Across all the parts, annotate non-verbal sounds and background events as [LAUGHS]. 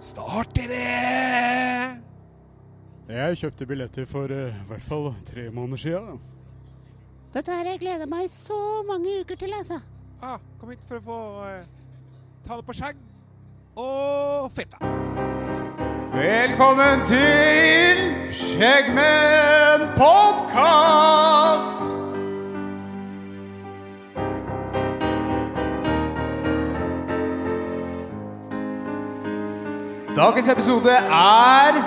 Snart er det! Jeg kjøpte billetter for eh, i hvert fall tre måneder siden. Dette her jeg gleder meg så mange uker til, altså. Ah, kom hit for å få eh, ta det på skjegg og fitta. Velkommen til Skjeggmenn podkast! Dagens episode er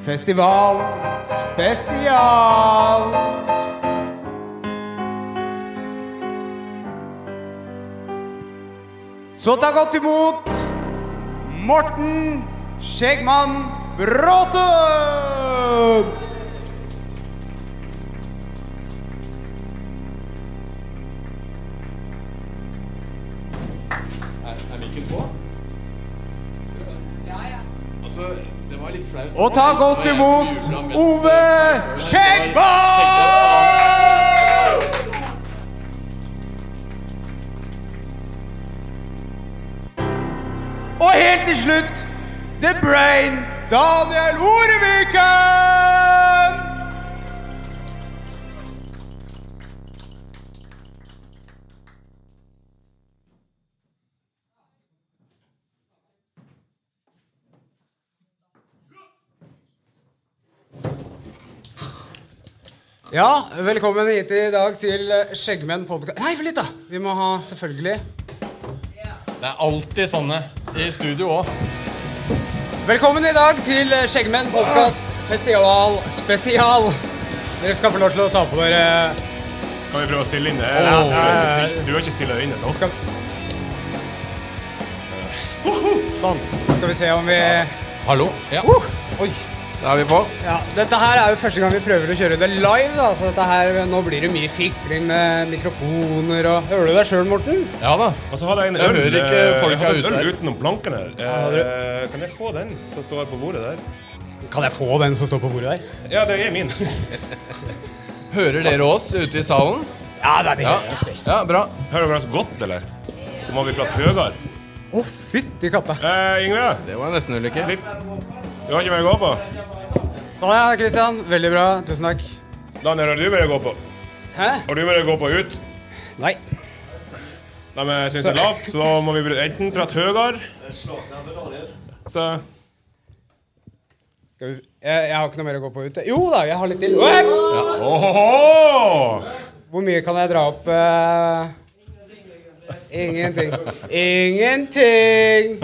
Festival Spesial. Så ta godt imot Morten Skjeggmann Bråten! Altså, Og ta godt imot Ove Skjeggmann! Og helt til slutt The Brain, Daniel Oreviken! Ja, velkommen hit i dag til Skjeggmenn podkast Nei, vent litt, da! Vi må ha selvfølgelig Det er alltid sånne i studio òg. Velkommen i dag til Skjeggmenn podkast festival spesial. Dere skal få lov til å ta på dere Kan vi prøve å stille inne? Jeg Åh. har ikke stilt- du har ikke stilla deg inne til oss. Sånn. Skal vi se om vi Ja. Hallo. Ja. Uh! Oi, da er vi på. Dette her er jo første gang vi prøver å kjøre det live, da. Så dette her Nå blir det mye fikling med mikrofoner og Hører du deg sjøl, Morten? Ja da. Og så hadde Altså, jeg en Jeg øl, hører ikke eh, folk jeg hadde her en ute. øl utenom planken her. Eh, kan jeg få den som står på bordet der? Kan jeg få den som står på bordet der? Ja, det er min. [LAUGHS] Hører dere oss ute i salen? Ja, det er det Ja, høyeste. ja bra. Hører dere oss godt, eller? Må vi prate høyere? Å, fytti katta. Eh, Yngve, Det var en nestenulykke. litt Du har ikke mer å gå på? Sånn, ja, Christian. Veldig bra. Tusen takk. Daniel, har du mer å gå på? Hæ? Har du mer å gå på ut? Nei. De eh, syns det er lavt, så da må vi br- enten prate høyere Så Skal vi jeg, jeg har ikke noe mer å gå på ute. Jo da, jeg har litt til. Oi! Åhåhå! Hvor mye kan jeg dra opp? eh? Ingenting. Ingenting!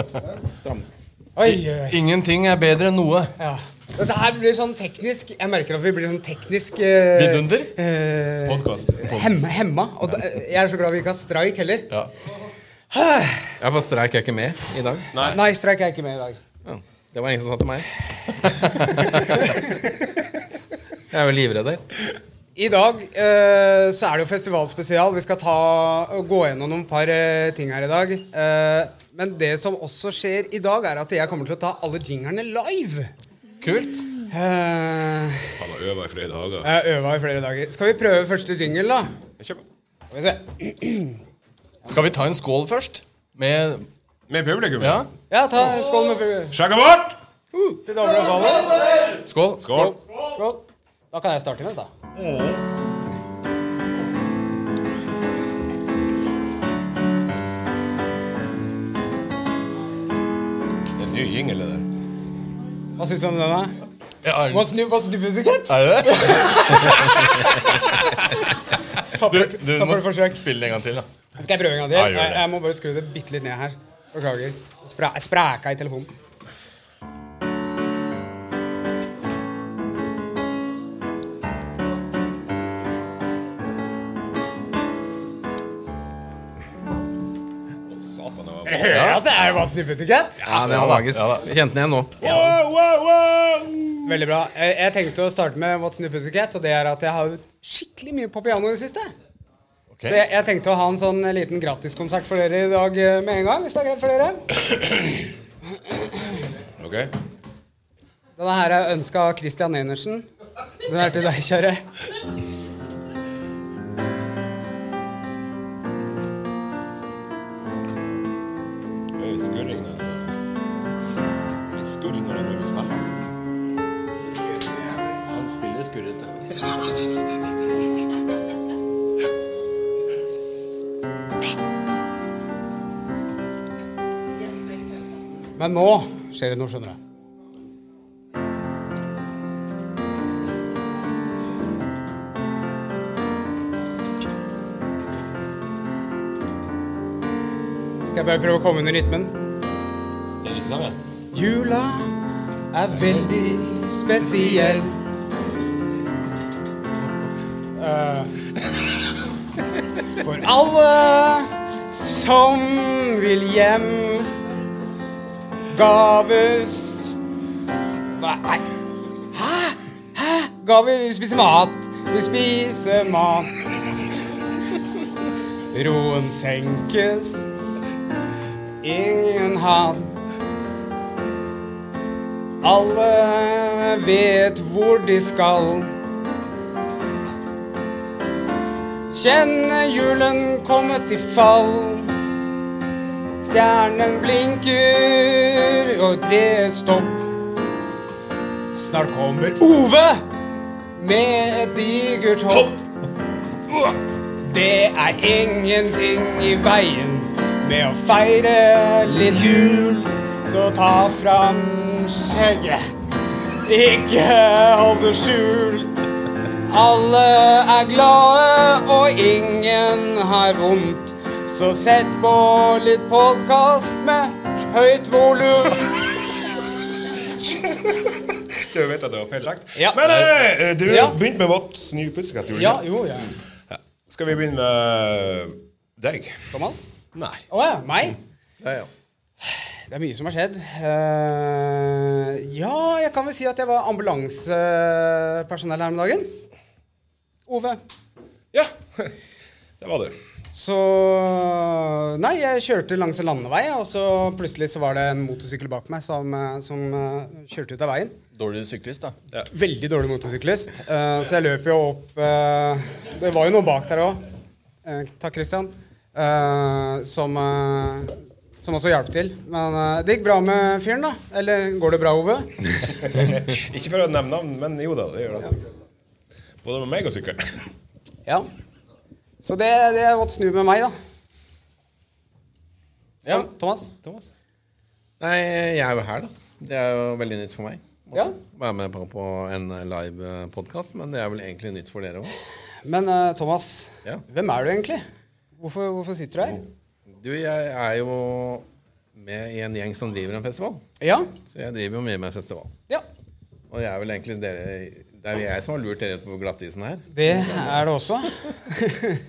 Oi, oi, oi. Ingenting er bedre enn noe. Ja. Dette her blir sånn teknisk Jeg merker at vi blir sånn teknisk eh, Vidunder? eh, Podkast. hemma, hemma. Og da, jeg er så glad vi ikke har streik heller. [SIGHS] Ja. Jeg får streik jeg er ikke med i dag. Nei, streik er ikke med i dag. Ja. Det var ingen som sa til meg. [LAUGHS] Jeg er jo livredd her. I dag eh, så er det jo festivalspesial. Vi skal ta, gå gjennom noen par eh, ting her i dag. Eh, men det som også skjer i dag, er at jeg kommer til å ta alle jinglene live. Kult. Eh, Han har øva i flere dager. Jeg øva i flere dager. Skal vi prøve første jingle, da? Kjør på. Skal vi se. Skal vi ta en skål først? Med Med publikum? Ja. Ja, ta en skål med Skjegget vårt! til damer og galler. Skål. Skål. Skål. Da kan jeg starte med, da. Det er en ny jingle, det der. Hva syns du om den, da? Ja, er What's new, what's new music yet? er det det? Tapper- Du, [LAUGHS] du tapper må det forsøk. spille en gang til, da. Skal jeg prøve en gang til? Ja, gjør det. jeg, jeg må bare skru det bitte litt ned her. Beklager. Spra jeg spræka i telefonen. Satan, det var Hører at det er What's new music yet? Ja, det var magisk. Jeg Kjente den igjen nå. Veldig bra. Jeg, jeg tenkte å starte med What's New Pussycat, og det er at jeg har jo skikkelig mye på piano i det siste. Så jeg, jeg tenkte å ha en sånn liten gratiskonsert for dere i dag eh, med en gang, hvis det er greit for dere. Ok. Denne her er ønska av Christian Enersen. Den er til deg, kjære. Det er litt skurring, det. Men nå skjer det noe, skjønner jeg. Skal jeg bare prøve å komme under rytmen? Jula er veldig spesiell. Eh, for alle som vil hjem. Gaver s- Hva- Nei. Hæ? Hæ? Gaver vi spiser mat. Vi spiser mat. Roen senkes. Ingen hat. Alle vet hvor de skal. Kjenne julen komme til fall. Stjernen blinker, og treet stopp. Snart kommer Ove med et digert hopp. Det er ingenting i veien med å feire litt jul. Så ta fram skjegget. Ikke hold det skjult. Alle er glade, og ingen har vondt. Så sett på litt podkast med høyt volum. Du vet at det var feil sagt. Ja. Men eh, du Ja. begynte med vårt ny pusekatt, gjorde du Ja, ikke? jo, ja. Skal vi begynne med deg? Thomas? Nei. Å ja, meg? Det er mye som har skjedd. Eh, ja, jeg kan vel si at jeg var ambulansepersonell her om dagen. Ove. Ja, [LAUGHS] det var du. Så Nei, jeg kjørte langs en landevei, og så plutselig så var det en motorsykkel bak meg som, eh, som eh, kjørte ut av veien. Dårlig syklist, da. Veldig dårlig motorsyklist, eh, så jeg løp jo opp eh, Det var jo noen bak der òg. takk, Christian. eh, som, eh, som også hjalp til. Men eh, det gikk bra med fyren, da. Eller går det bra, Ove? Ikke for å nevne navn, men jo da, det gjør det. Både med meg og sykkelen. Ja. Så det, det er what's new med meg, da. Ja. Thomas? Nei, jeg er jo her, da. Det er jo veldig nytt for meg. Ja. Å være med på, på en live podkast, men det er vel egentlig nytt for dere òg. Men eh, Thomas, Ja. hvem er du egentlig? Hvorfor, hvorfor sitter du her? Du, jeg er jo med i en gjeng som driver en festival. Ja. Så jeg driver jo mye med festival. ja. Og jeg er vel egentlig dere Det er jo jeg som har lurt dere på glattisen her. Det er det også. [LAUGHS]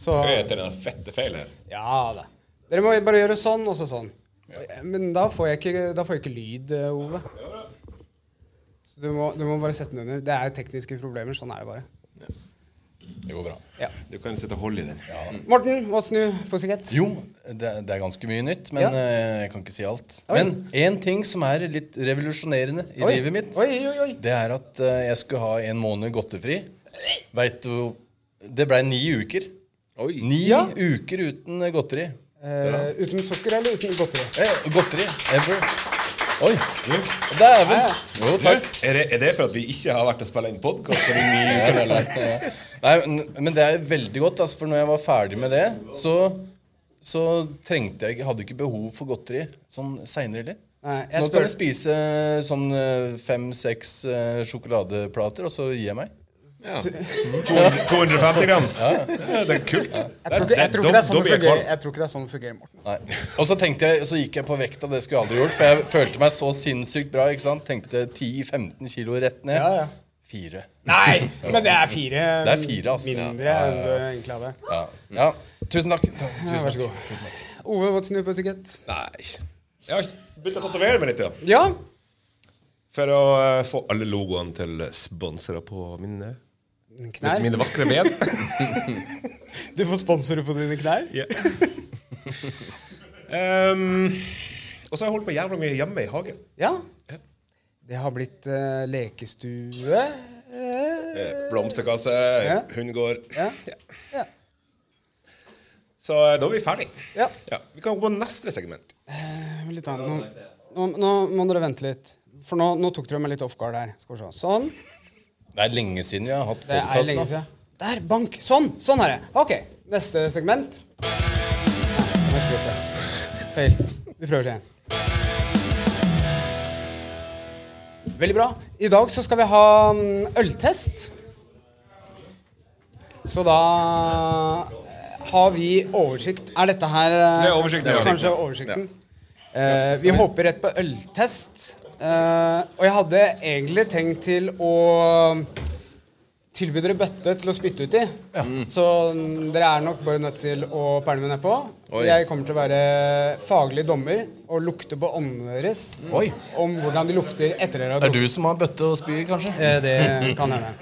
så Hva heter den fette feilen her? Ja da. Dere må bare gjøre sånn og så sånn. Men da får jeg ikke, da får jeg ikke lyd, eh, Ove. Så du må, du må bare sette den under. Det er tekniske problemer. Sånn er det bare. Det går bra. Ja. Du kan sitte og holde i den. Mm. Morten, what's new? Pussycat? Jo, det, det er ganske mye nytt, men Ja. eh, jeg kan ikke si alt. Oi. Men én ting som er litt revolusjonerende i Oi. livet mitt, Oi, oi, oi. det er at eh, jeg skulle ha en måned godtefri. Veit du Det blei ni uker. Ni Ja. uker uten eh, godteri. Eh, uten sukker eller uten godteri? Eh, godteri ever. Oi. Dæven. Ja, Du, Jo, takk. er, det, er det for at vi ikke har vært og spille inn podkast for de nye ukene, [LAUGHS] eller? Nei, men- men det er veldig godt, altså, for når jeg var ferdig med det, så, så trengte jeg ikke- Hadde ikke behov for godteri sånn seinere heller. Nei, jeg Nå skal jeg spør- spise sånn fem-seks eh, sjokoladeplater, og så gir jeg meg. 250 grams. Ja, det er kult. Jeg tror ikke, jeg tror ikke det er sånn det fungerer, jeg tror ikke det er sånn det fungerer, Morten. Nei. Og så tenkte jeg, så gikk jeg på vekta, det skulle jeg aldri gjort, for jeg følte meg så sinnssykt bra. ikke sant? Tenkte 10-15 kilo rett ned. Ja, ja. Fire. Nei, men det er fire, Det er fire, ass. mindre Ja, ja, enn du egentlig hadde. Ja. ja. Tusen takk. Ta- Tusen vær så god. takk. Tusen takk. Ove, what's new, Pussycat? Nei. Jeg har begynt å tatovere meg litt, ja. Ja. For å eh, få alle logoene til sponsorer på mine, en Knær. mine vakre ben. [LAUGHS] Du får sponsorer på dine knær. Ja. Ehm, og så har jeg holdt på jævla mye hjemme i hagen. Ja. Det har blitt eh, lekestue. Eh, Eh, Blomsterkasse, Ja. hundegård. Ja. Ja. ja. Så eh, da er vi ferdig. ja. Ja. Vi kan gå på neste segment. Litt annet. Nå, nå, nå må dere vente litt. For nå, nå tok dere meg litt off guard her. Skal vi se. Sånn. Det er lenge siden vi har hatt Det er podkast lenge nå. siden. Der, bank! Sånn! Sånn er det. Ok, neste segment. Nei, nå har jeg skrudd det. Feil. Vi prøver seg igjen. Veldig bra. I dag så skal vi ha mm, øltest. Så da eh, har vi oversikt. Er dette her eh, Det er oversikten, ja. Kanskje oversikten. Eh, vi hopper rett på øltest. Eh, og jeg hadde egentlig tenkt til å tilbyr dere bøtte til å spytte ut i. Så mm, dere er nok bare nødt til å pælme nedpå. Oi. Jeg kommer til å være faglig dommer og lukte på åndene deres Oi. om hvordan de lukter etter dere har Det er drukket. du som har bøtte og spyr, kanskje? Eh, Det kan hende.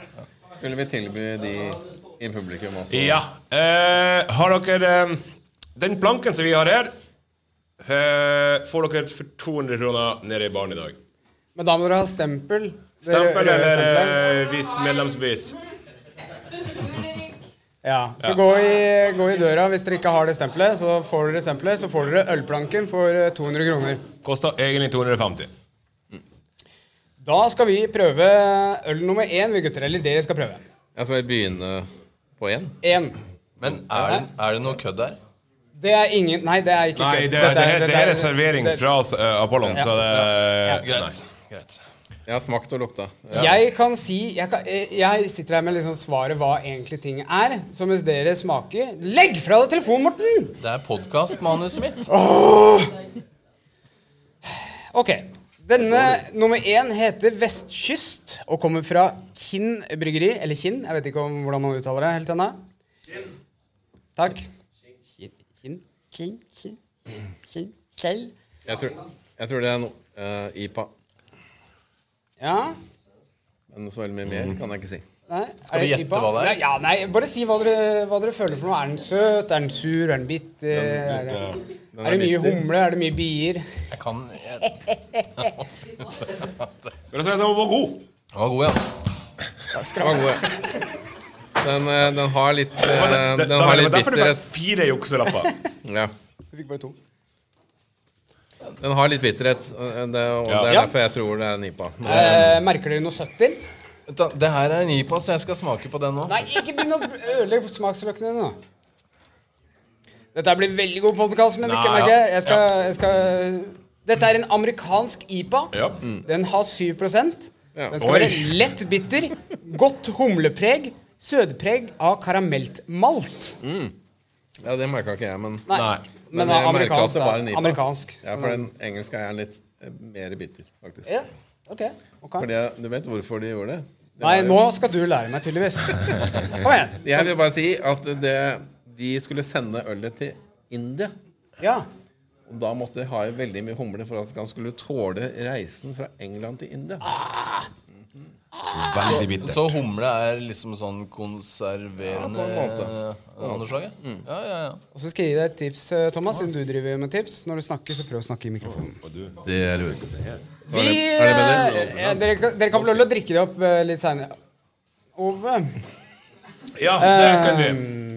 Skulle vi tilby de i publikum også? Ja. Eh, har dere eh, Den planken som vi har her, eh, får dere for 200 kroner nede i baren i dag. Men da må dere ha stempel. Det røde Stempel eller stempelet. eh, vis medlemsbevis. Ja. Så gå, i, gå i døra hvis dere ikke har det stempelet. Så får dere stempelet, så får dere ølplanken for eh, 200 kroner. Kosta egentlig 250. Da skal vi prøve øl nummer én, vi gutter. Eller dere skal prøve. Ja, skal vi begynne på én? Én. Men er det, er det noe kødd der? Det er ingen Nei, det er ikke Nei, kødd. det, Dette det, her- det her er dette servering det- fra eh, Apollon, så det Greit. greit. Jeg har smakt og lukta. Jeg kan si jeg, kan, eh, jeg sitter her med liksom svaret hva egentlig ting er. Så mens dere smaker Legg fra deg telefonen, Morten! Det er podkastmanuset mitt. Ok. Denne nummer én heter Vestkyst og kommer fra Kinn bryggeri. Eller Kinn, jeg vet ikke om hvordan man uttaler det helt ennå. Takk. Kinn. Kinn. Kinn, kinn, kinn, kjell. Jeg tror, jeg tror det er no, eh, IPA. Ja. Men så veldig mye mer kan jeg ikke si. Nei, Skal vi er det gjette IPA? hva det er? Nei, ja, nei, bare si hva dere, hva dere føler for noe. Er den søt? Er den sur? Er den bitter? Er det, Den er det mye bitter. humle? Er det mye bier? Jeg kan jeg, Men altså, den var god. Den var god, ja. Den var god, ja. Den, eh, den har litt, eh, Men det, det, den har litt derfor er det bitterhet. bare fire jukselapper. Ja. Vi fikk bare to. Den har litt bitterhet, og det, og det er Ja. derfor jeg tror det er en IPA. Eh, merker dere noe søtt til? Vent da, Det her er en IPA, så jeg skal smake på den nå. Nei, ikke begynn å ødelegge smaksløkene dine. nå. Dette her blir veldig god podkast, men ikke Nei, merke. ja. Jeg skal, jeg skal Dette er en amerikansk IPA. Ja. Den har 7 Ja. Den skal Oi. være lett bitter, godt humlepreg, sødpreg av karamellmalt. Ja, Det merka ikke jeg, men Nei. Nei. Men, jeg merket amerikansk, at det var en da. IPA. amerikansk. Ja, så- for den engelske er litt eh, mer bitter, faktisk. ja. ok, ok. Fordi jeg- Du vet hvorfor de gjorde det? det Nei, var jo- nå skal du lære meg, [LAUGHS] tydeligvis. Kom igjen. Jeg vil bare si at det, de skulle sende ølet til India. Ja. Og da måtte de ha i veldig mye humle for at han skulle tåle reisen fra England til India. Veldig bitter. Ah. Så humle er liksom sånn konserverende Ja, på en måte. Mm. eh, av noe slag, ja. ja, ja, ja. Og så skal jeg gi deg et tips, eh, Thomas, siden du driver med tips. Når du snakker, så prøv å snakke i mikrofonen. Det er lurt. Vi, er det bedre? eh, ja, dere, kan- dere kan få lov til å drikke det opp eh, litt seinere. Ove. Ja, det kan Eh, vi.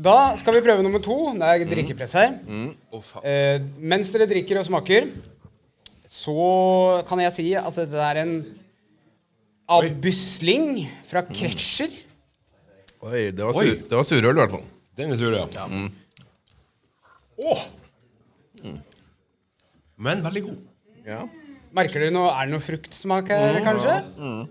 Da skal vi prøve nummer to. Det er drikkepress her. Mm. Eh, mens dere drikker og smaker, så kan jeg si at dette er en abusling fra Mm. Kretscher. Oi, det var, sur, det var surøl, i hvert fall. Den er sur, ja. Mm. Åh! Mm. Men veldig god. Ja. Merker dere noe, Er det noe fruktsmak her, Mm. kanskje?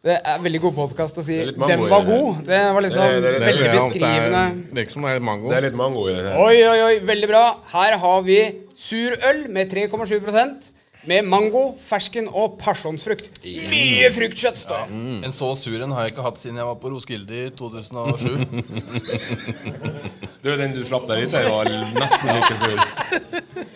Det er veldig god podkast å si Det er litt 'den mango i var det her. god'. Det var liksom Det- det- det- Det tror veldig jeg at det er- beskrivende. Virker som det er mango. Det er litt mango i den her. Oi, oi, oi, veldig bra. Her har vi surøl med 3,7 med mango, fersken og pasjonsfrukt. Mye fruktkjøtt, da. En så sur en har jeg ikke hatt siden jeg var på Roskilde [LAUGHS] i 2007. Du, den du slapp der ute, var nesten like sur.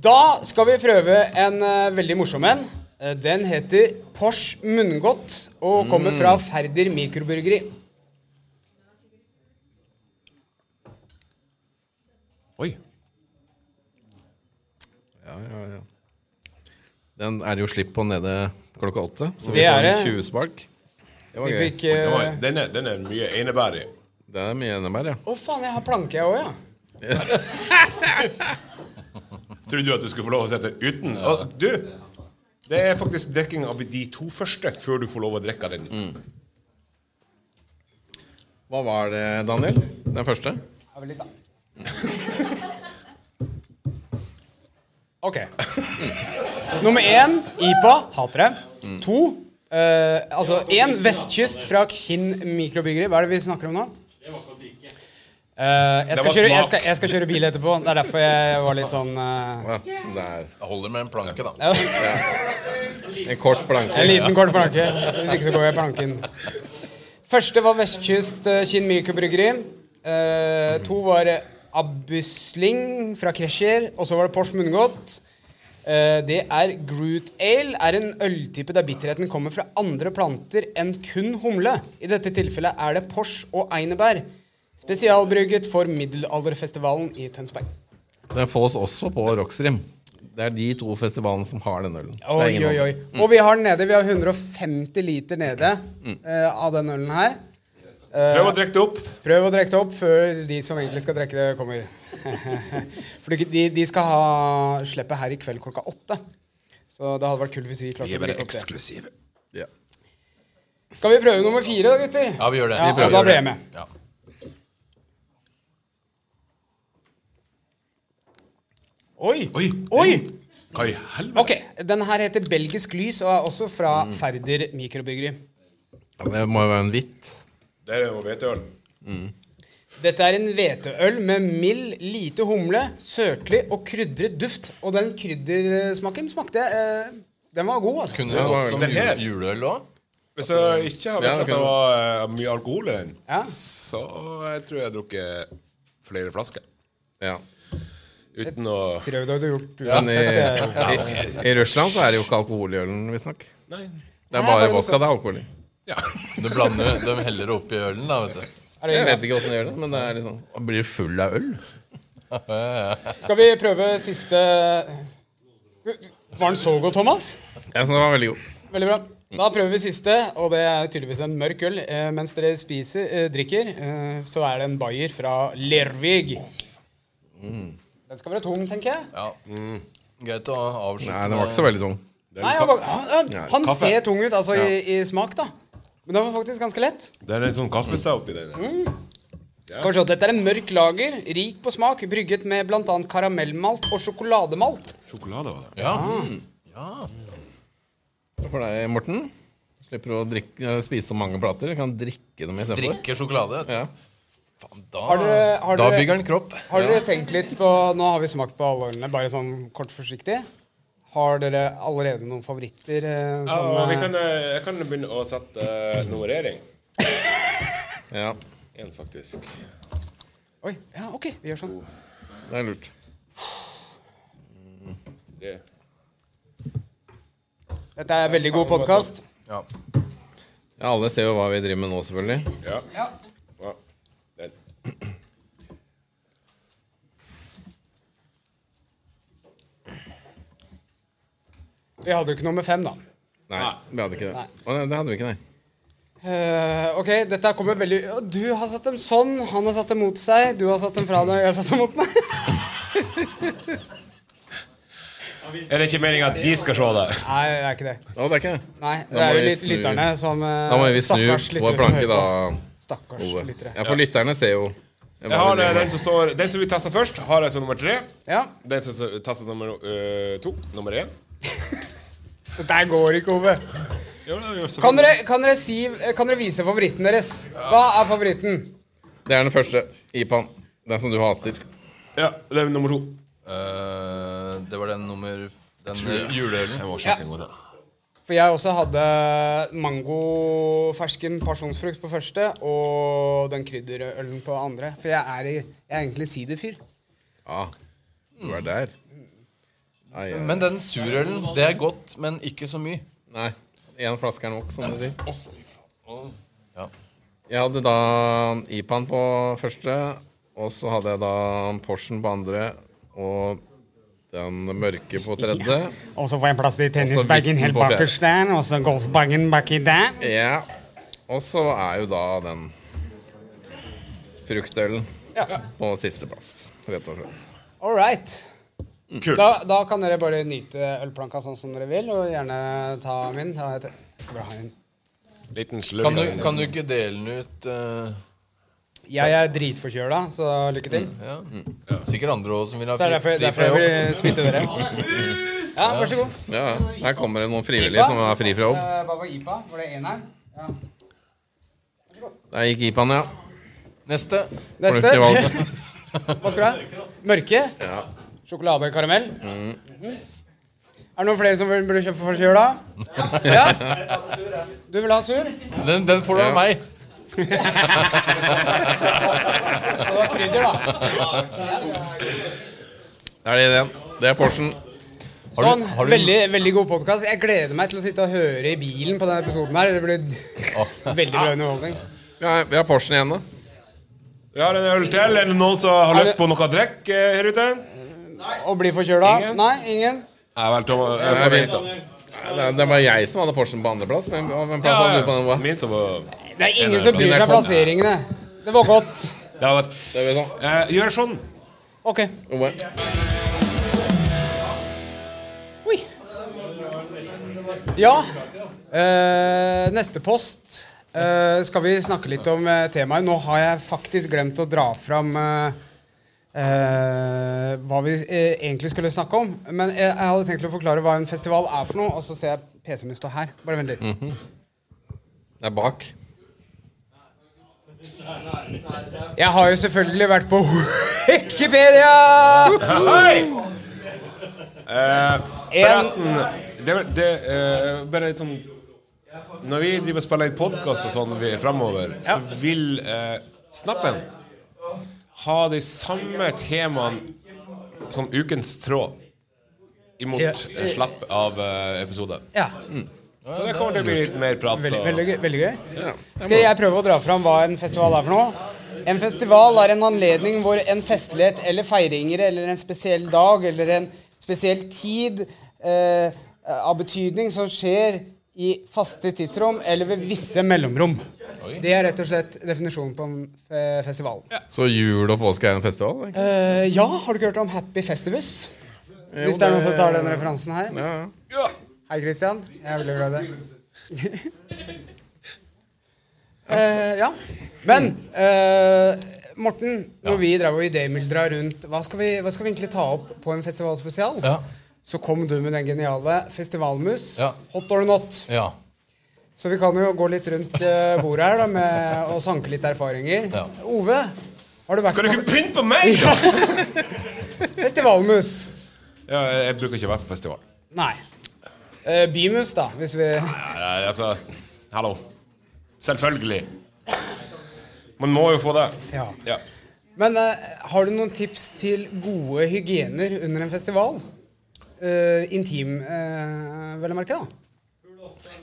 Da skal vi prøve en eh, veldig morsom en. Eh, den heter Porsch munngodt og kommer fra Færder mikroburgeri. Oi. Ja, ja, ja. Den er det jo slipp på nede klokka åtte. Så Det vi får er en det. 20-spark. Det var Vi gøy. fikk Den, var, eh, den, er, den er mye einebær i. Det er mye NMR, ja. Å, faen, jeg har planke, jeg òg, ja. Trodde du at du skulle få lov å sette den uten? Å, du! Det er faktisk drikking av de to første før du får lov å drikke den. Hva var det, Daniel? Den første? [LAUGHS] Ok. Nummer én IPA. Hater det. Mm. To eh, Altså én Vestkyst fra Kinn mikrobryggeri. Hva er det vi snakker om nå? Eh, jeg, Det skal var kjøre, jeg, smak. skal, jeg skal kjøre bil etterpå. Det er derfor jeg var litt sånn eh, Ja, det er Det holder med en planke, da. en kort En blanke. liten kort planke. Hvis ikke så går jeg planken. Første var Vestkyst eh, Kinn mikrobryggeri. Eh, to var Abusling fra Kresjer. Og så var det Pors Munngodt. Eh, det er Groot Ale. Er en øltype der bitterheten kommer fra andre planter enn kun humle. I dette tilfellet er det pors og einebær. Spesialbrygget for middelalderfestivalen i Tønsberg. Den fås også på Rocksrim. Det er de to festivalene som har denne ølen. Det er Oi, ingen oi, oi. andre. Og vi har den nede. Vi har 150 liter nede eh, av den ølen her. Eh, Prøv å drikke det opp. Prøv å drikke det opp før de som egentlig skal drikke det, kommer. [LAUGHS] For de, de skal ha slippet her i kveld klokka åtte. Så det hadde vært kult hvis vi klarte Vi å er bare drikke opp det. eksklusive. Ja. Skal vi prøve nummer fire, da, gutter? Ja, vi gjør det. Ja, Vi prøver og da å gjøre ble det. jeg med. Ja. Oi! Oi! Oi! Hva i helvete? Ok, den her heter Belgisk lys og er også fra Mm. Færder mikrobryggeri. Ja, Det må jo være en hvitt. Det er jo hveteøl. Dette er en hveteøl med mild, lite humle, søtlig og krydret duft. Og den kryddersmaken smakte jeg, eh, Den var god, altså. Ja, Kunne det det var gått som den her. jule- juleøl òg? Hvis jeg ikke har visst Ja, at det ok. var eh, mye alkohol i den, Ja. så jeg tror jeg har drukket flere flasker. Ja. Uten å Tror jeg du hadde gjort Men i, uansett. eh. i, i Russland så er det jo ikke alkohol i ølen, visstnok. Nei. Det er bare vodka det er alkohol i. Ja. Du blander, De heller det oppi ølen, da, vet du. Er det en- Jeg vet ikke åssen de gjør det, men det er liksom Man Blir full av øl? Skal vi prøve siste Var den så god, Thomas? Jeg syns den var veldig god. Veldig bra. Da prøver vi siste, og det er tydeligvis en mørk øl. Eh, mens dere spiser, eh, drikker, eh, så er det en bayer fra Lervig. Mm. Den skal være tung, tenker jeg. Ja. Greit å avslutte Nei, den var ikke så veldig tung. Nei, han, var- han, han- han kaffe. ser tung ut, altså, i, i smak, da. Men den var faktisk ganske lett. [LAUGHS] Det er en sånn kaffestout i den. her. Kanskje at dette er en mørk lager, rik på smak, brygget med bl.a. karamellmalt og sjokolademalt. Sjokolade var det. Ja. Ah, For deg, Morten. Slipper å drikke, eh, spise så mange plater. Du kan drikke dem istedenfor. Drikke sjokolade. vet du. Ja. Faen, Ah. da, Har dere- har da dere- bygger den kropp. Har dere tenkt litt på Nå har vi smakt på alle ølene, bare sånn kort forsiktig. Har dere allerede noen favoritter? eh, Ja, Som, og vi eh, kan, eh, jeg kan begynne å sette eh, nummerering. Ja, Én, faktisk. eh, Oi, ja, OK, vi gjør sånn. det er lurt. Det. Dette er en veldig god podkast. Ja. Ja, alle ser jo hva vi driver med nå, selvfølgelig. Ja. ja. Den. Vi hadde jo ikke nummer fem, da. Nei, vi hadde ikke det. Å, nei, det hadde vi ikke, nei. Eh, OK, dette kommer veldig Å, Du har satt dem sånn, han har satt dem mot seg, du har satt dem fra deg, jeg har satt dem [LAUGHS] mot meg. Er det ikke meninga at de skal se det? Nei, det er ikke det. Å, det er ikke det. Nei, Da Det må er jo vi litt snu- lytterne som eh, Da må vi snu stakkars lyttere vår som planke, hører da, på. Stakkars Ove. lyttere. Ja, for lytterne ser jo Jeg har eh, den som står Den som vi testa først, har jeg som nummer tre. Ja. Den som testa nummer eh, to. Nummer én. Dette her går ikke, Ove. Jo, det er jo så- Kan dere, kan, dere si, kan dere vise favoritten deres? Hva er favoritten? Det er den første. IPA-en. Den som du hater. Ja, det er nummer to. Eh, det var den nummer Den eh, juleølen. Jeg må sjekke en gang til. For jeg også hadde mango, fersken pasjonsfrukt på første, og den krydderølen på andre. For jeg er, i, jeg er egentlig siderfyr. Ja, du er der. Ai, ai. Men den surølen, det er godt, men ikke så mye. Nei, én flaske er nok, som du sier. Ja. Jeg hadde da IPA-en på første, og så hadde jeg da Porschen på andre, og den mørke på tredje. Og så får jeg plass til tennisbagen helt bakerst der, og så golfbagen baki der. Ja. Og så er jo da den fruktølen på sisteplass, rett og slett. All right. Kult. Da, da kan dere bare nyte ølplanka sånn som dere vil, og gjerne ta min. Ja, jeg te- jeg skal bare ha en. Liten slurk. Kan du, kan du ikke dele den ut eh, Jeg er dritforkjøla, så lykke til. ja. Mm. Sikkert andre også som vil ha Så det er Mm, fri, derfor, fri derfor fra jeg jobb. vil smitte dere. Ja, vær så god. Ja, ja. her kommer det noen frivillige som er fri fra jobb. Eh, Hva var IPA? Var det én her? Ja. Der gikk IPAN, ja. Neste. Neste. Fornuftig valg. [LAUGHS] Hva skal du ha? Mørke? Sjokolade og karamell? Er det noen flere som vil- burde kjøpe forkjøla? Ja. Du vil ha sur? Og Den, den får du av meg. det var krydder, da. Der er det ideen. Det er Porschen. Har du- Sånn. har du- Veldig, veldig god podkast. Jeg gleder meg til å sitte og høre i bilen på denne episoden her. Det blir [LAUGHS] veldig bra underholdning. Vi har, vi har Porschen igjen, da. Vi har en øl til. Er det noen som har det- lyst på noe drikk eh, her ute? Og bli forkjøla? Ingen? Nei, ingen? Jeg vel, Tom, jeg Nei, får vi- vente. Nei, Det, det var jeg som hadde Porschen på andreplass. Hvem, hvem plass hadde du på den? hva? Min som var Det er ingen som bryr Den seg er om plasseringene. Det var godt. Det var et- Det er vi sånn. Eh, Gjør sånn. Ok. Ove. Ja. Eh, neste post eh, skal vi snakke litt om eh, temaet. Nå har jeg faktisk glemt å dra fram eh, eh, hva vi eh, egentlig skulle snakke om. Men jeg, jeg hadde tenkt å forklare hva en festival er for noe, og så ser jeg PC-en min stå her. Bare vent litt. Mhm. Det er bak. Jeg har jo selvfølgelig vært på [LAUGHS] Wikipedia! Hei! Eh, En- forresten det, det, eh, Bare litt sånn Når vi driver og spiller i podkast og sånn vi- fremover, så vil eh, snappen ha de samme temaene som ukens tråd imot Ja. eh, slapp av eh, episode. Ja, Så det kommer til å bli litt mer prat. veldig, og- veldig, gøy- veldig gøy. Skal jeg prøve å dra fram hva en festival er for noe? En festival er en anledning hvor en festlighet eller feiringer eller en spesiell dag eller en spesiell tid eh, av betydning som skjer i faste tidsrom eller ved visse mellomrom. Det er rett og slett definisjonen på en eh, festival. Så jul og påske er en festival? Ikke? Eh, ja, har du ikke hørt om Happy Festivus? Hvis det er noen som tar den referansen her. Ja, ja. Hei, Christian. Jeg er veldig [LAUGHS] glad i deg. Eh, ja. Men eh, Morten, når vi drev og idémyldra rundt hva skal, vi, hva skal vi egentlig ta opp på en festivalspesial? Ja. Så kom du med den geniale Festivalmus. Ja. Hot or not. Ja. Så vi kan jo gå litt rundt eh, bordet her da, med å sanke litt erfaringer. Ja. Ove, har du vært Skal du på ikke pynte på meg?! da? Festivalmus? Ja, jeg bruker ikke å være på festival. Nei. Eh, bymus, da, hvis vi Nei, nei, altså Hallo. Selvfølgelig. Man må jo få det. Ja. Ja. Men eh, har du noen tips til gode hygiener under en festival? Eh, intim, eh, vel å merke, da.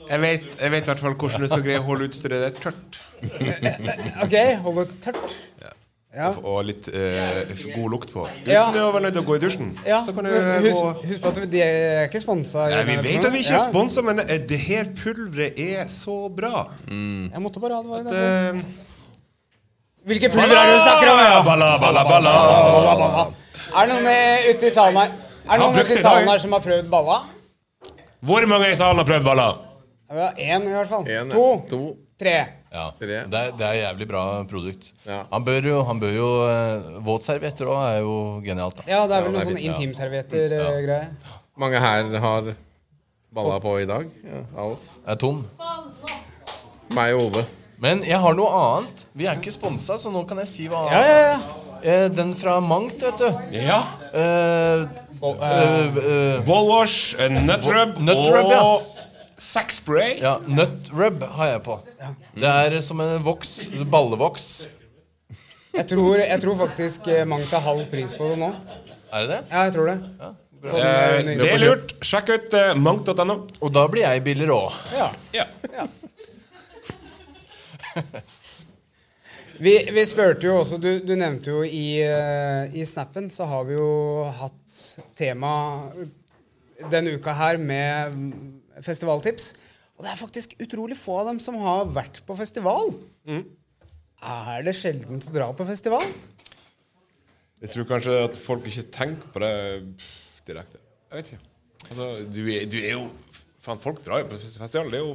Jeg vet, jeg vet i hvert fall hvordan du skal greie å holde utstyret ditt tørt. Ok, hold det tørt. Ja. Og- Og litt eh, god lukt på. Uten Ja. å være nødt til å gå i dusjen. Ja, Så kan du eh, men husk, gå husk på at vi- de er ikke sponsa. Nei, Vi vet at vi ikke er sponsa, men eh, det her pulveret er så bra. Jeg måtte bare advare deg. Det, eh, Hvilke pulver er det du snakker om? Ja? Balla, balla, balla. Er det noen eh, ute i salen her Er det har noen brukt ute det i i dag. salen her som har prøvd balla? Hvor mange i salen har prøvd balla? Ja, Én, i hvert fall. En, to, to, tre. Ja. Tre. Det, er, det er jævlig bra produkt. Ja. Han bør jo, han bør jo eh, Våtservietter òg er jo genialt. Da. Ja, det er vel noen det er sånne eh, fint, ja. intimservietter-greier. Mange her har balla på i dag ja, av oss. Jeg er tom. Meg og Ove. Men jeg har noe annet. Vi er ikke sponsa, så nå kan jeg si hva Ja, ja, ja. Eh, Den fra Mangt, vet du. Ja. Eh, eh, eh, Wallwash, eh, Nutrub Nut rub, ja. og Saxspray. ja, Nut rub har jeg på. Det er som en voks. Ballevoks. Jeg tror, jeg tror faktisk eh, Mangt har halv pris på det nå. Er det det? Ja, jeg tror det. Sånn, Eh, eh, Det er lurt. Sjekk ut eh, mangt.no. Og da blir jeg billigere òg. Ja. Ja. Vi, vi spurte jo også Du, du nevnte jo i, eh, i snappen, så har vi jo hatt tema denne uka her med mm, festivaltips. Og det er faktisk utrolig få av dem som har vært på festival. Er det sjeldent å dra på festival? Jeg tror kanskje at folk ikke tenker på det direkte. Jeg vet ikke. Altså, du er, du er jo Faen, folk drar jo på festival. Det er jo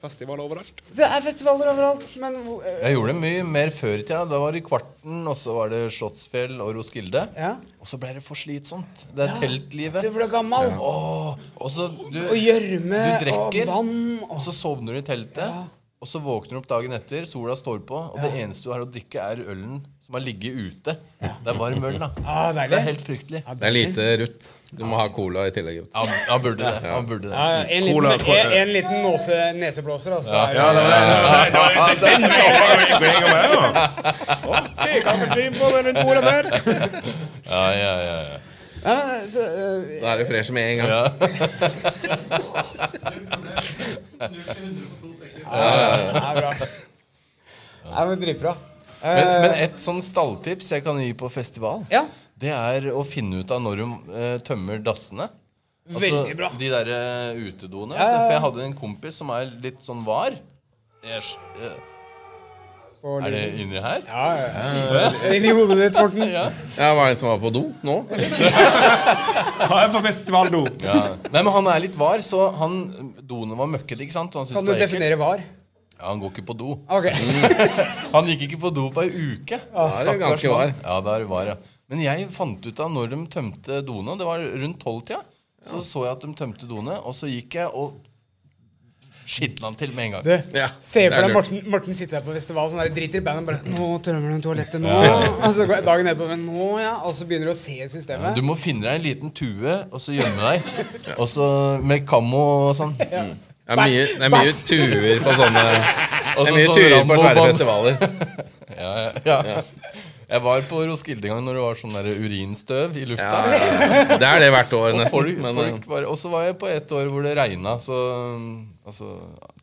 festival [LAUGHS] overalt. Det er festivaler overalt, men hvor- eh, Jeg gjorde det mye mer før i tida. Da var det Kvarten, og så var det Slottsfjell og Roskilde. Ja. Og så ble det for slitsomt. Det er teltlivet. Du ble gammel. Åh, og så du, Og gjørme du og drikker, vann og og så sovner du i teltet. Og så våkner du opp dagen etter, sola står på, og det eneste du har å drikke, er ølen som har ligget ute. Det er varm øl, da. [LAUGHS] ah, Det er Deilig. helt fryktelig. Det er lite rutt. Du må ha cola i tillegg. vet du. Han, han burde det. Han burde det. Ja, en, liten, Cola, cola. en, en liten nåse, neseblåser, altså. er det- Ja, det var det. det, var det, det, det, det, Ja, ja, ja, ja. Ja, men, så, eh, Da er du fresh med en gang. ja, bra. Ja, men dritbra. Men, men et sånn stalltips jeg kan gi på festival, Ja. det er å finne ut av når de eh, tømmer dassene. Altså, Veldig bra. De der eh, utedoene. ja, ja. For jeg hadde en kompis som er litt sånn var. Jeg, Og er det inni her? Inni hodet ditt, Morten. Ja, Hva er det som var på do nå? på festivaldo. Nei, men han er litt var, så han doene var møkkete, ikke sant? Og han syntes Kan du det var ekkelt. definere var? Ja, han går ikke på do. Ah. Ok. [LAUGHS] Han gikk ikke på do på ei uke. Da Ah, er du Stakkars ganske var. mann. Ja, da er du var, ja. Men jeg fant ut av når de tømte doene. Det var rundt tolvtida. Så så jeg at de tømte doene, og så gikk jeg og skitna han til med en gang. Du, Ja, se det for er deg lurt. Morten, Morten sitter her på festival sånn der driter i bandet bare 'Nå tømmer de toalettet, nå.' Og så går dagen etterpå men 'Nå, ja.' Og så begynner du å se systemet. Du må finne deg en liten tue og så gjemme deg. Og så med kammo og sånn. Det er mye, det er mye Bæsj! tuer på sånne Og Det så er mye sånn tuer på svære Rambo-bånd. festivaler. Ja. Jeg var på Roskilde en gang når det var sånn der urinstøv i lufta. Ja, ja. Det er det hvert år, Folk, nesten. Men eh. folk bare, og så var jeg på et år hvor det regna, så um, altså,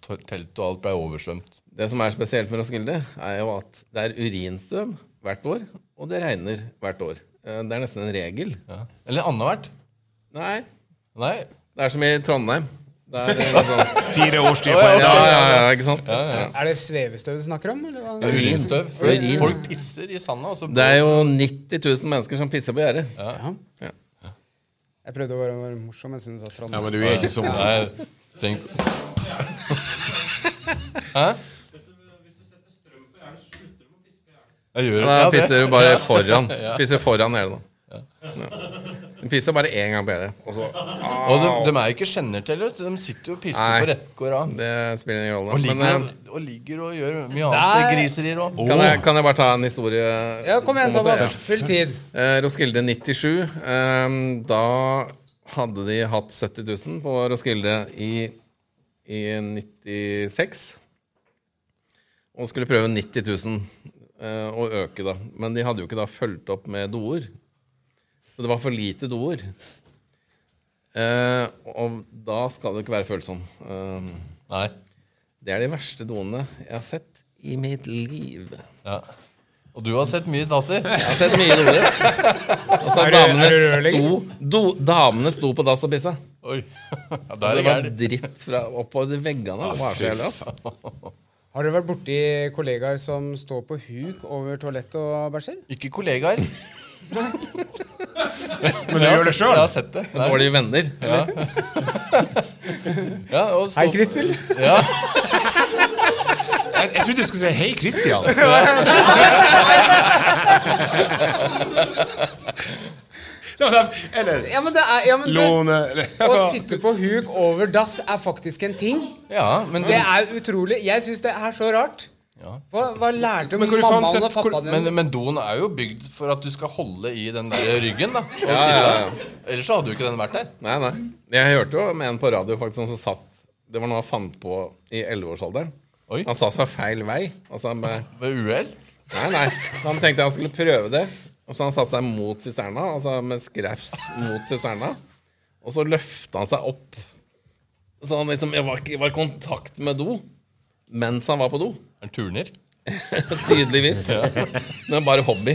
to- telt og alt ble oversvømt. eh, det som er spesielt med Roskilde, er jo at det er urinstøv hvert år, og det regner hvert år. Eh, Det er nesten en regel. Ja. Eller annethvert. Nei, Nei. det er som i Trondheim. Det er eh, noe sånn. Fire årstider ja, på ja, ja, ikke sant? Er det svevestøv du snakker om? Eller? hva? Urinstøv. Folk, folk pisser i sanda. og så- Det er jo 90 000 mennesker som pisser på gjerdet. Jeg prøvde å være, være morsom, men synes at Trond Ja, men du er ikke sånn. Nei, [LAUGHS] tenk Hæ? Jeg gjør Da ja, det. pisser du bare [LAUGHS] foran. Pisser foran hele, da. Ja. Du pisser bare én gang på gjerdet, og så Og de, de er jo ikke kjenner til det. De sitter jo og pisser Nei. på rettgård av. Det spiller ingen Og rolle. ligger, Men eh, og ligger og gjør mye annet Der- griserier òg. kan jeg, kan jeg bare ta en historie? Ja, kom igjen, på en måte? Thomas. Full tid. Eh, Roskilde 97. ehm, da hadde de hatt 70 000 på Roskilde i, i 96. Og skulle prøve 90 000 eh, å øke, da. Men de hadde jo ikke da fulgt opp med doer. Så det var for lite doer. Eh, og da skal du ikke være følsom. Ehm, Nei. det er de verste doene jeg har sett i mitt liv. Ja. Og du har sett mye dasser. Jeg har sett mye doer. Altså, Er du- er damene, du rørlegger? sto, do, damene sto på dass og pissa. Oi. Ja, der Det er var gærent. dritt fra oppover veggene. Det var så jævlig, ass. Har dere vært borti kollegaer som står på huk over toalettet og bæsjer? Ikke kollegaer. Men du gjør det Jeg sjøl. har sett det. Der. Dårlige venner. Ja. ja, og stå- Hei, Kristel. Ja. Jeg, jeg trodde du skulle si 'Hei, [LAUGHS] Christian'. Det var derfor- Eller Ja, men det er ja, men det, Lone eller- Å [LAUGHS] altså, sitte på huk over dass er faktisk en ting. [LAUGHS] ja, men, Det er utrolig. Jeg syns det er så rart. Ja. Hva, hva lærte Men hvor faen mammaen og sett- pappaen hvor- sånn men, din? men doen er jo bygd for at du skal holde i den der ryggen, da. Og Ja, sitte ja, der. Ellers så hadde jo ikke den vært der. Nei, nei. Jeg hørte jo med en på radio faktisk som satt Det var noe han fant på i 11-årsalderen. Oi. Han satt fra feil vei. Altså, han bare Ved uhell. Nei, nei. Han tenkte han skulle prøve det. Og så han satte seg mot sisterna, altså med skrevs mot sisterna. Og så løfta han seg opp. Så han liksom jeg var, ikke- jeg var i kontakt med do mens han var på do. Er det turner? Tydeligvis. Men bare hobby.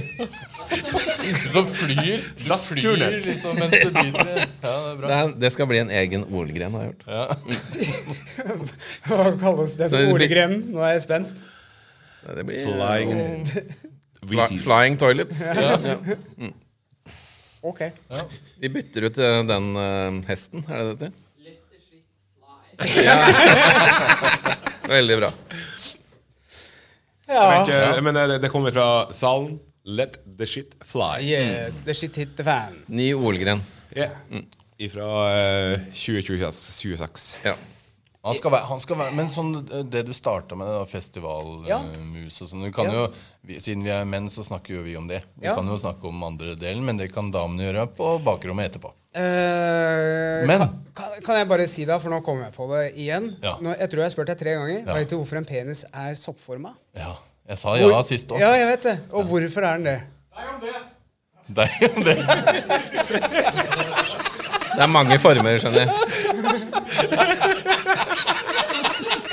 Som flyr. Du flyr Dassturner. liksom mens du biter. Ja, det er bra. Det, er, det skal bli en egen OL-gren, har jeg hørt. Hva kalles den Så det blir- boliggrenen? Nå er jeg spent. Nei, Det blir Flying Fly, VCs. Flying toilets. Ja. Ok. De bytter ut eh, den eh, hesten, er det det heter? Ja. [LAUGHS] Veldig bra. Ja. Ikke, men det, det kommer fra salen. Let the shit fly. Yes, the shit hit the fan. Ny Olgren. Yeah. Fra Mm. eh, 2026. Ja. Han skal være, han skal være, men sånn, eh, det du starta med, da, festivalmus Ja. og sånn du kan Ja. jo, vi, Siden vi er menn, så snakker jo vi om det. Vi Ja. kan jo snakke om andre delen, men det kan damene gjøre på bakrommet etterpå. Eh, Men- kan, kan- kan jeg bare si da, for nå kommer jeg på det igjen Ja. nå, Jeg tror jeg har spurt deg tre ganger. Ja. Vet du hvorfor en penis er soppforma? Ja, Jeg sa ja Hvor- sist òg. Ja, jeg vet det. Og hvorfor er den det? [LAUGHS] [LAUGHS] Det er jo det. Det er mange former, skjønner jeg.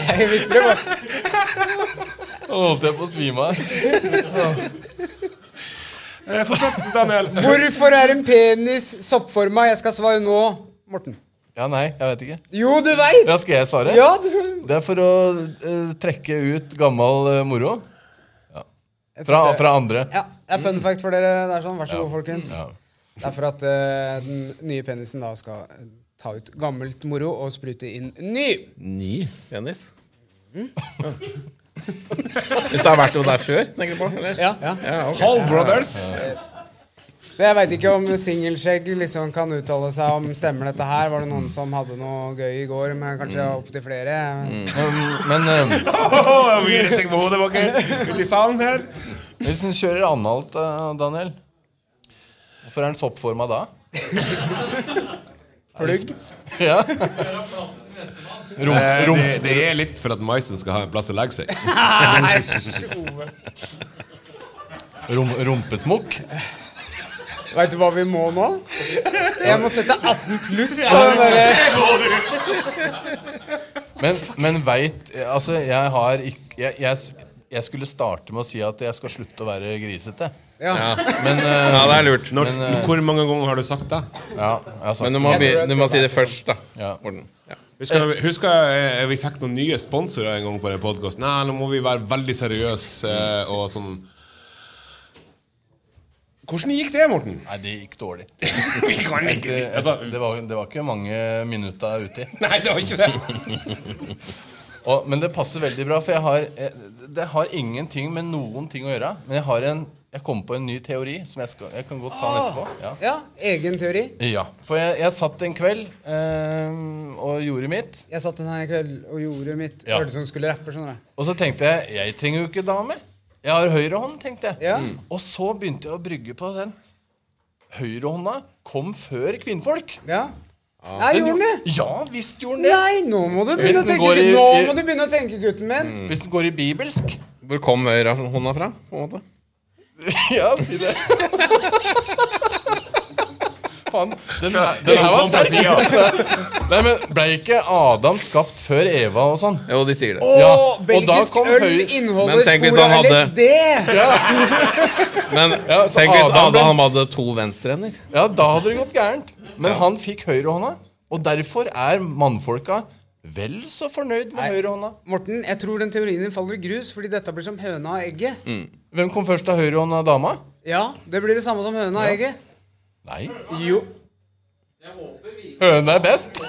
Jeg visste det var Nå holdt jeg på å svime av. Eh, [LAUGHS] Fortsett, Daniel. Hvorfor er en penis soppforma? Jeg skal svare nå, Morten. Ja, nei, jeg vet ikke. Jo, du veit! Ja, Skal jeg svare? Ja, du skal Det er for å eh, trekke ut gammel eh, moro Jeg synes fra, det- fra andre. Ja, det er fun fact for dere. Det er sånn, Vær så god, folkens. Ja. Det er for at eh, den nye penisen da skal eh, ta ut gammelt moro og sprute inn ny. Ny penis? [LAUGHS] Hvis det har vært noe der før, tenker du på? Eller? Ja, ja. Ja, ok. Hall Brothers. Så jeg veit ikke om singelskjegg liksom kan uttale seg om stemmer dette her. Var det noen som hadde noe gøy i går, men kanskje opptil flere? Men, men eh, [LAUGHS] Åh, vi retter på hodet, ok? Ut i salen her. Hvis den kjører analt, eh, Daniel Hvorfor er den soppforma da? Plugg? Ja. [LAUGHS] Rom, Eh, rom. det, det er litt for at maisen skal ha en plass å legge [LAUGHS] seg. [LAUGHS] Rom, rumpesmokk? Veit du hva vi må nå? Jeg må sette 18 pluss på den derre Men, men veit Altså, jeg har ikke jeg, jeg, s- jeg skulle starte med å si at jeg skal slutte å være grisete. ja. Men eh, Ja, det er lurt. Når, hvor mange ganger har du sagt det? ja, jeg har sagt Men du må, be, du må si det først, da. Ja. Morten. Ja. Husker, husker jeg, vi fikk noen nye sponsorer en gang på den podkasten. Nei, nå må vi være veldig seriøse eh, og sånn. Hvordan gikk det, Morten? [LAUGHS] Nei, det gikk dårlig. Vi kan Det, ikke altså, det, var, det var ikke mange minutta uti. Nei, det var ikke det. Og, men det passer veldig bra, for jeg har, eh, det har ingenting med noen ting å gjøre. Men jeg har en, jeg kom på en ny teori som jeg, skal, jeg kan godt ta den etterpå. Ja. ja. Egen teori. Ja, For jeg, jeg satt en kveld eh, og gjorde mitt. Jeg satt den her i kveld og gjorde mitt. Ja. Hørtes ut som du skulle rappe. skjønner du. Og så tenkte jeg jeg trenger jo ikke dame. Jeg har høyrehånd, tenkte jeg. Mm. Ja. Og så begynte jeg å brygge på den. Høyrehånda kom før kvinnfolk. Ja. Nei, gjorde den det? Ja, visst gjorde den det. Nei, nå må du begynne å den tenke, går i- gutt- nå i- må du begynne å tenke gutten min. Hvis den går i bibelsk. [LAUGHS] Hvor kom høyrehånda fra? på en måte? Ja, si det. [LAUGHS] Faen, den her, den her var sterk. Nei, men Ble ikke Adam skapt før Eva og sånn? Jo, de sier det. Å, Ja, og da belgisk kom øl høy- inneholder Men tenk hvis spor av han hadde- LSD! Men Ja, så tenk hvis Adam ble- Adam hadde to venstrehender. Ja, da hadde det gått gærent. Men han fikk høyrehånda, og derfor er mannfolka vel så fornøyd med høyrehånda. Morten, jeg tror den teorien din faller i grus, fordi dette blir som høna og egget. Mm. Hvem kom først av høyrehånda dama? Ja, det blir det samme som høna og egget. Nei. Jo. Høna er best.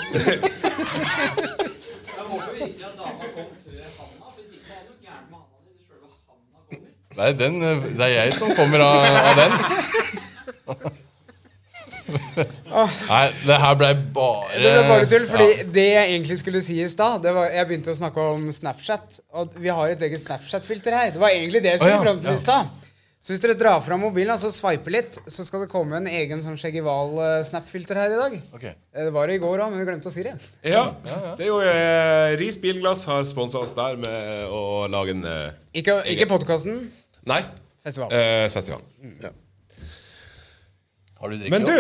Nei, den, eh, det er jeg som kommer av, av den. Nei, det her blei bare Ah. Det er bare tull, fordi Eh, Ja. det jeg egentlig skulle si i stad, det var Jeg begynte å snakke om Snapchat, og vi har et eget Snapchat-filter her. Det var egentlig det jeg skulle Å, ja, fram til ja. i stad. Så hvis dere drar fram mobilen og så sveiper litt, så skal det komme en egen sånn Skjeggival-snap-filter her i dag. Ok. Eh, Det var det i går òg, men vi glemte å si det. Ja, det er jo eh, Ris Bilglass har sponsa oss der med å lage en eh, Ikke, ikke podkasten. Nei, Festival. eh, festival. Mm. Har du drikket Men du,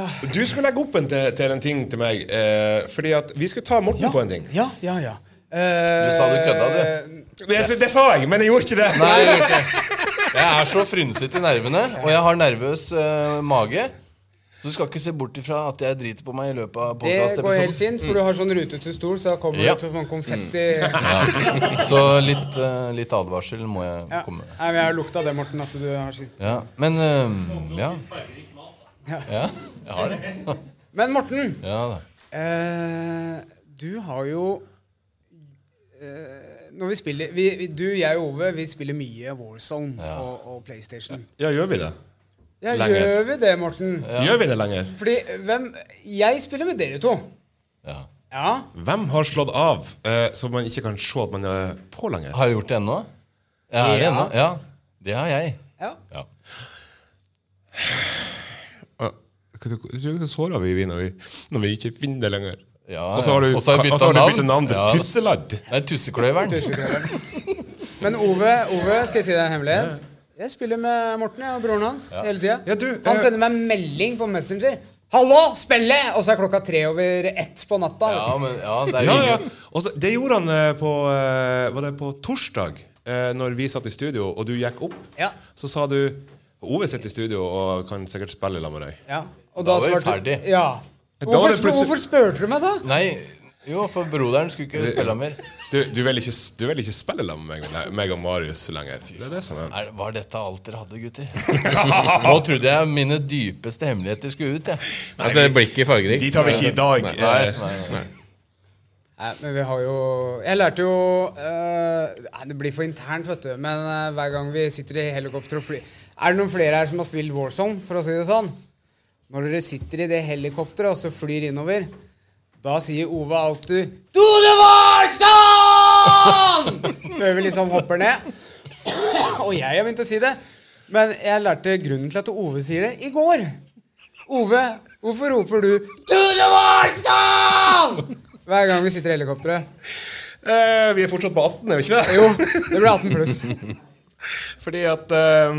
opp? du skulle legge opp en til, til en ting til meg. Eh, fordi at vi skulle ta Morten på en ting. Ja, ja, Eh, ja. Du sa du kødda, du. Det, det sa jeg, men jeg gjorde ikke det. Nei, jeg gjør ikke det. Jeg er så frynset i nervene, og jeg har nervøs eh, mage. Så du skal ikke se bort ifra at jeg driter på meg i løpet av Det går helt podkastepisoden. fint, for du har sånn rutete stol, så da kommer Ja. det også sånn konfetti [LAUGHS] Så litt, eh, litt advarsel må jeg ja. komme med. Nei, men Jeg har lukta det, Morten, at du har sist Ja, men eh, ja. Ja, jeg har det. Men Morten, Ja da. eh, du har jo eh, Når vi spiller vi, vi, Du, jeg og Ove, vi spiller mye Warzone og, og PlayStation. Ja, gjør vi det? Ja, Lenger. gjør vi det, Morten? Gjør vi det lenger? Fordi hvem Jeg spiller med dere to. Ja. Ja. Hvem har slått av eh, så man ikke kan se at man er på lenger? Har jeg gjort det ennå? Jeg er det Ja. ennå? Ja. Det har jeg. ja. Ja. Hva såra vi vi når, vi når vi ikke finner det lenger? Ja, Og så har du, og så har jeg og så har du byttet navn til Ja. Tusseladd. Det er Tussekløveren. Men Ove, Ove, skal jeg si deg en hemmelighet? Jeg spiller med Morten jeg, og broren hans hele tida. Ja, du, han eh, sender meg melding på Messenger. 'Hallo, spille!' Og så er klokka tre over ett på natta. Ja, men ja, det er Ja, ja. ingen- Og så, det gjorde han eh, på, eh, var det på torsdag, eh, når vi satt i studio, og du gikk opp. Ja. Så sa du Ove sitter i studio og kan sikkert spille i lag med deg. Ja. Og Da var vi svarte- ferdig. Ja. var det Hvorfor, sp- plutselig- hvorfor spurte du meg da? Nei, jo, for broderen skulle ikke spille mer. Du, du, vil, ikke, du vil ikke spille i lag med meg, meg og Marius lenger. Det er det som er Er, var dette alt dere hadde, gutter? Nå trodde jeg mine dypeste hemmeligheter skulle ut. jeg. At det blir ikke Altså, fargerik. De tar vi ikke i dag. Nei, eh, nei, nei. Nei, men vi har jo Jeg lærte jo eh, Nei, det blir for internt, vet du. Men eh, hver gang vi sitter i helikopter og fly Er det noen flere her som har spilt Warzone, for å si det sånn? Når dere sitter i det helikopteret og så flyr innover, da sier Ove alltid 'Do the Warzone!' [LAUGHS] Før vi liksom hopper ned. Og jeg har begynt å si det. Men jeg lærte grunnen til at Ove sier det, i går. Ove, hvorfor roper du 'Do the Warzone!' hver gang vi sitter i helikopteret? eh, vi er fortsatt på 18, er vi ikke det? Jo, det ble 18 pluss. Fordi at eh,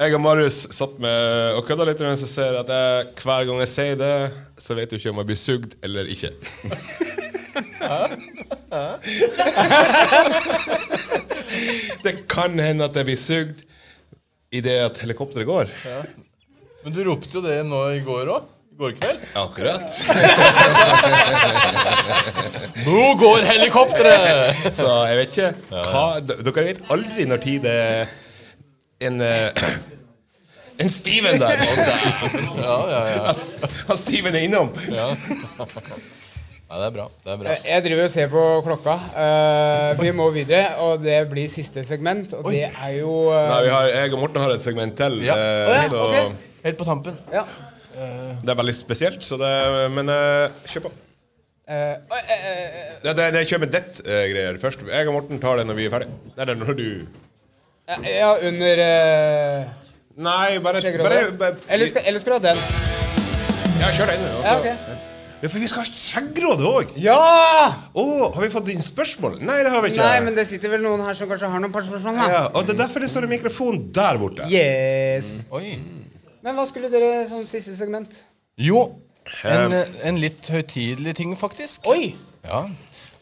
jeg og Marius satt med og kødda litt, mens jeg ser at jeg, hver gang jeg sier det, så vet du ikke om jeg blir sugd eller ikke. [LAUGHS] det kan hende at jeg blir sugd idet at helikopteret går. Men du ropte jo det nå i går òg. I går kveld. Akkurat. Nå går helikopteret! [LAUGHS] Så jeg vet ikke hva d- Dere vet aldri når tid det er en eh, [CLEARS THROAT] En Steven der! Ja, ja, ja. Han Steven er innom. Nei, det er bra. det er bra. Jeg driver og ser på klokka. Eh, vi må videre, og det blir siste segment. Og det er jo eh, Nei, vi har, jeg og Morten har et segment til. eh, Ja. Å, ja, så ok. Helt på tampen. ja. Det er veldig spesielt, så det Men eh, kjør på. Eh, oi, eh, eh, Det, det, det kjører med ditt eh, greier først. Jeg og Morten tar det når vi er ferdig. Nei, det er når du eh, ja, under eh, Nei, bare, bare, skjeggerodda. bare Eller skal, eller skal du ha den? Ja, kjør den. og Ja, så- ok. Ja, for vi skal ha skjeggeråd òg! Ja! Å, har vi fått inn spørsmål? Nei, det har vi ikke. Nei, men det sitter vel noen her som kanskje har noen spørsmål. da. ja, og Det er derfor det står en mikrofon der borte. Yes. Oi. Men hva skulle dere som siste segment? Jo, en, eh, en litt høytidelig ting, faktisk. Oi! Ja.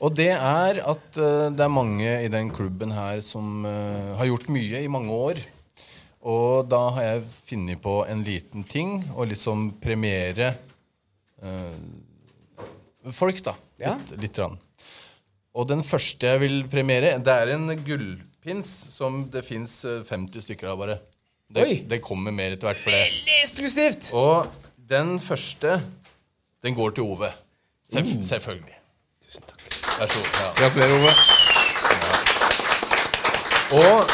Og det er at eh, det er mange i den klubben her som eh, har gjort mye i mange år. Og da har jeg funnet på en liten ting å liksom premiere eh, folk, da. Ja. Litt, litt rann. Og den første jeg vil premiere, det er en gullpins som det fins 50 stykker av, bare. Det, Oi. det kommer mer etter hvert for det. Eksklusivt! Og den første, den går til Ove. Selv, Selvfølgelig. Tusen takk. Vær så god. Ja. Gratulerer, Ove. Og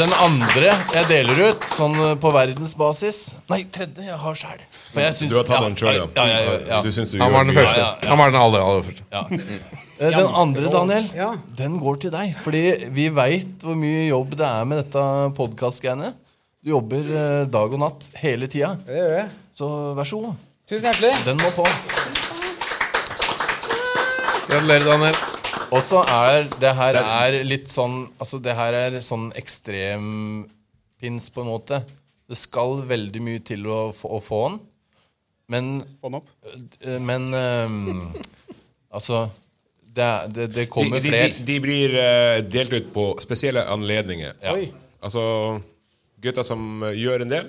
den andre jeg deler ut, sånn eh, på verdensbasis Nei, tredje jeg har sjæl. Du har tatt den sjøl, ja. Ja, ja, ja, Du syns du Han var gjorde den mye. første. Ja, ja, ja. Han var den aller, aller første. Eh, Den andre, Daniel, Ja. den går til deg. Fordi vi veit hvor mye jobb det er med dette podkast-greiene. Du jobber eh, dag og natt hele tida. Det gjør jeg. Så vær så god. Tusen hjertelig. Den må på. Gratulerer, Daniel. Og så er det her er litt sånn Altså det her er sånn ekstrempins på en måte. Det skal veldig mye til å få, å få den. Men, Få den opp. eh, men ehm, [LAUGHS] Altså det, er- det, det kommer de, de, flere. de, de blir eh, delt ut på spesielle anledninger. Ja. Oi. Altså gutter som eh, gjør en del,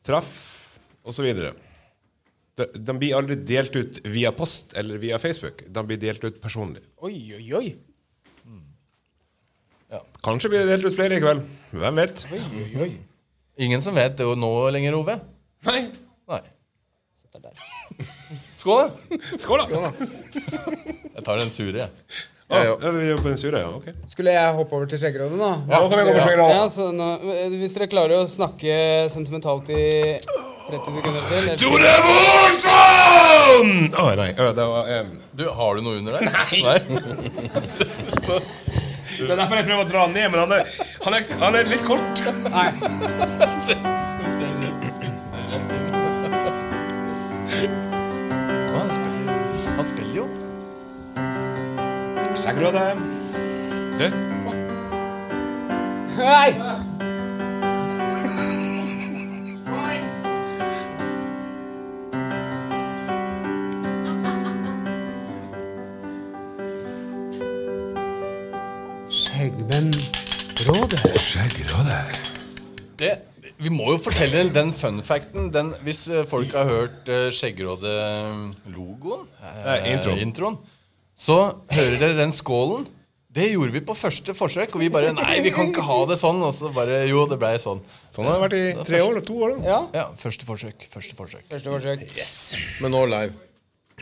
traff osv. De, de blir aldri delt ut via post eller via Facebook. De blir delt ut personlig. Oi, oi, oi. Kanskje blir det delt ut flere i kveld. Hvem vet? Ingen som vet det jo nå lenger, Ove. Nei. Nei. Skål, da! Skål, da! Jeg tar den sure, jeg. Ah, ja, vi er på den sure, ja. Ok. Skulle jeg hoppe over til skjeggeråden, da? Ja, så kan vi gå på skjeggeråden. Ja, så nå, eh, hvis dere klarer å snakke sentimentalt i 30 sekunder til eller- Tore Worsson! Å, nei. ø, Det var em, Du, Har du noe under [LAUGHS] der? Nei. Det er derfor jeg prøver å dra han ned, men han er, han er, han er litt kort. Han, spiller, han spiller jo. Skjeggeråde. Du, Nei! Skjeggmennrådet. Det, vi må jo fortelle den fun facten. Den, hvis eh, folk har hørt uh, Skjeggeråde-logoen, eh, Nei, introen. så hører dere den skålen. Det gjorde vi på første forsøk, og vi bare Nei, vi kan ikke ha det sånn. Og så bare Jo, det blei sånn. sånn har det vært i tre år, to år da. Ja. Ja, første forsøk. Første forsøk. Første forsøk. Men nå live.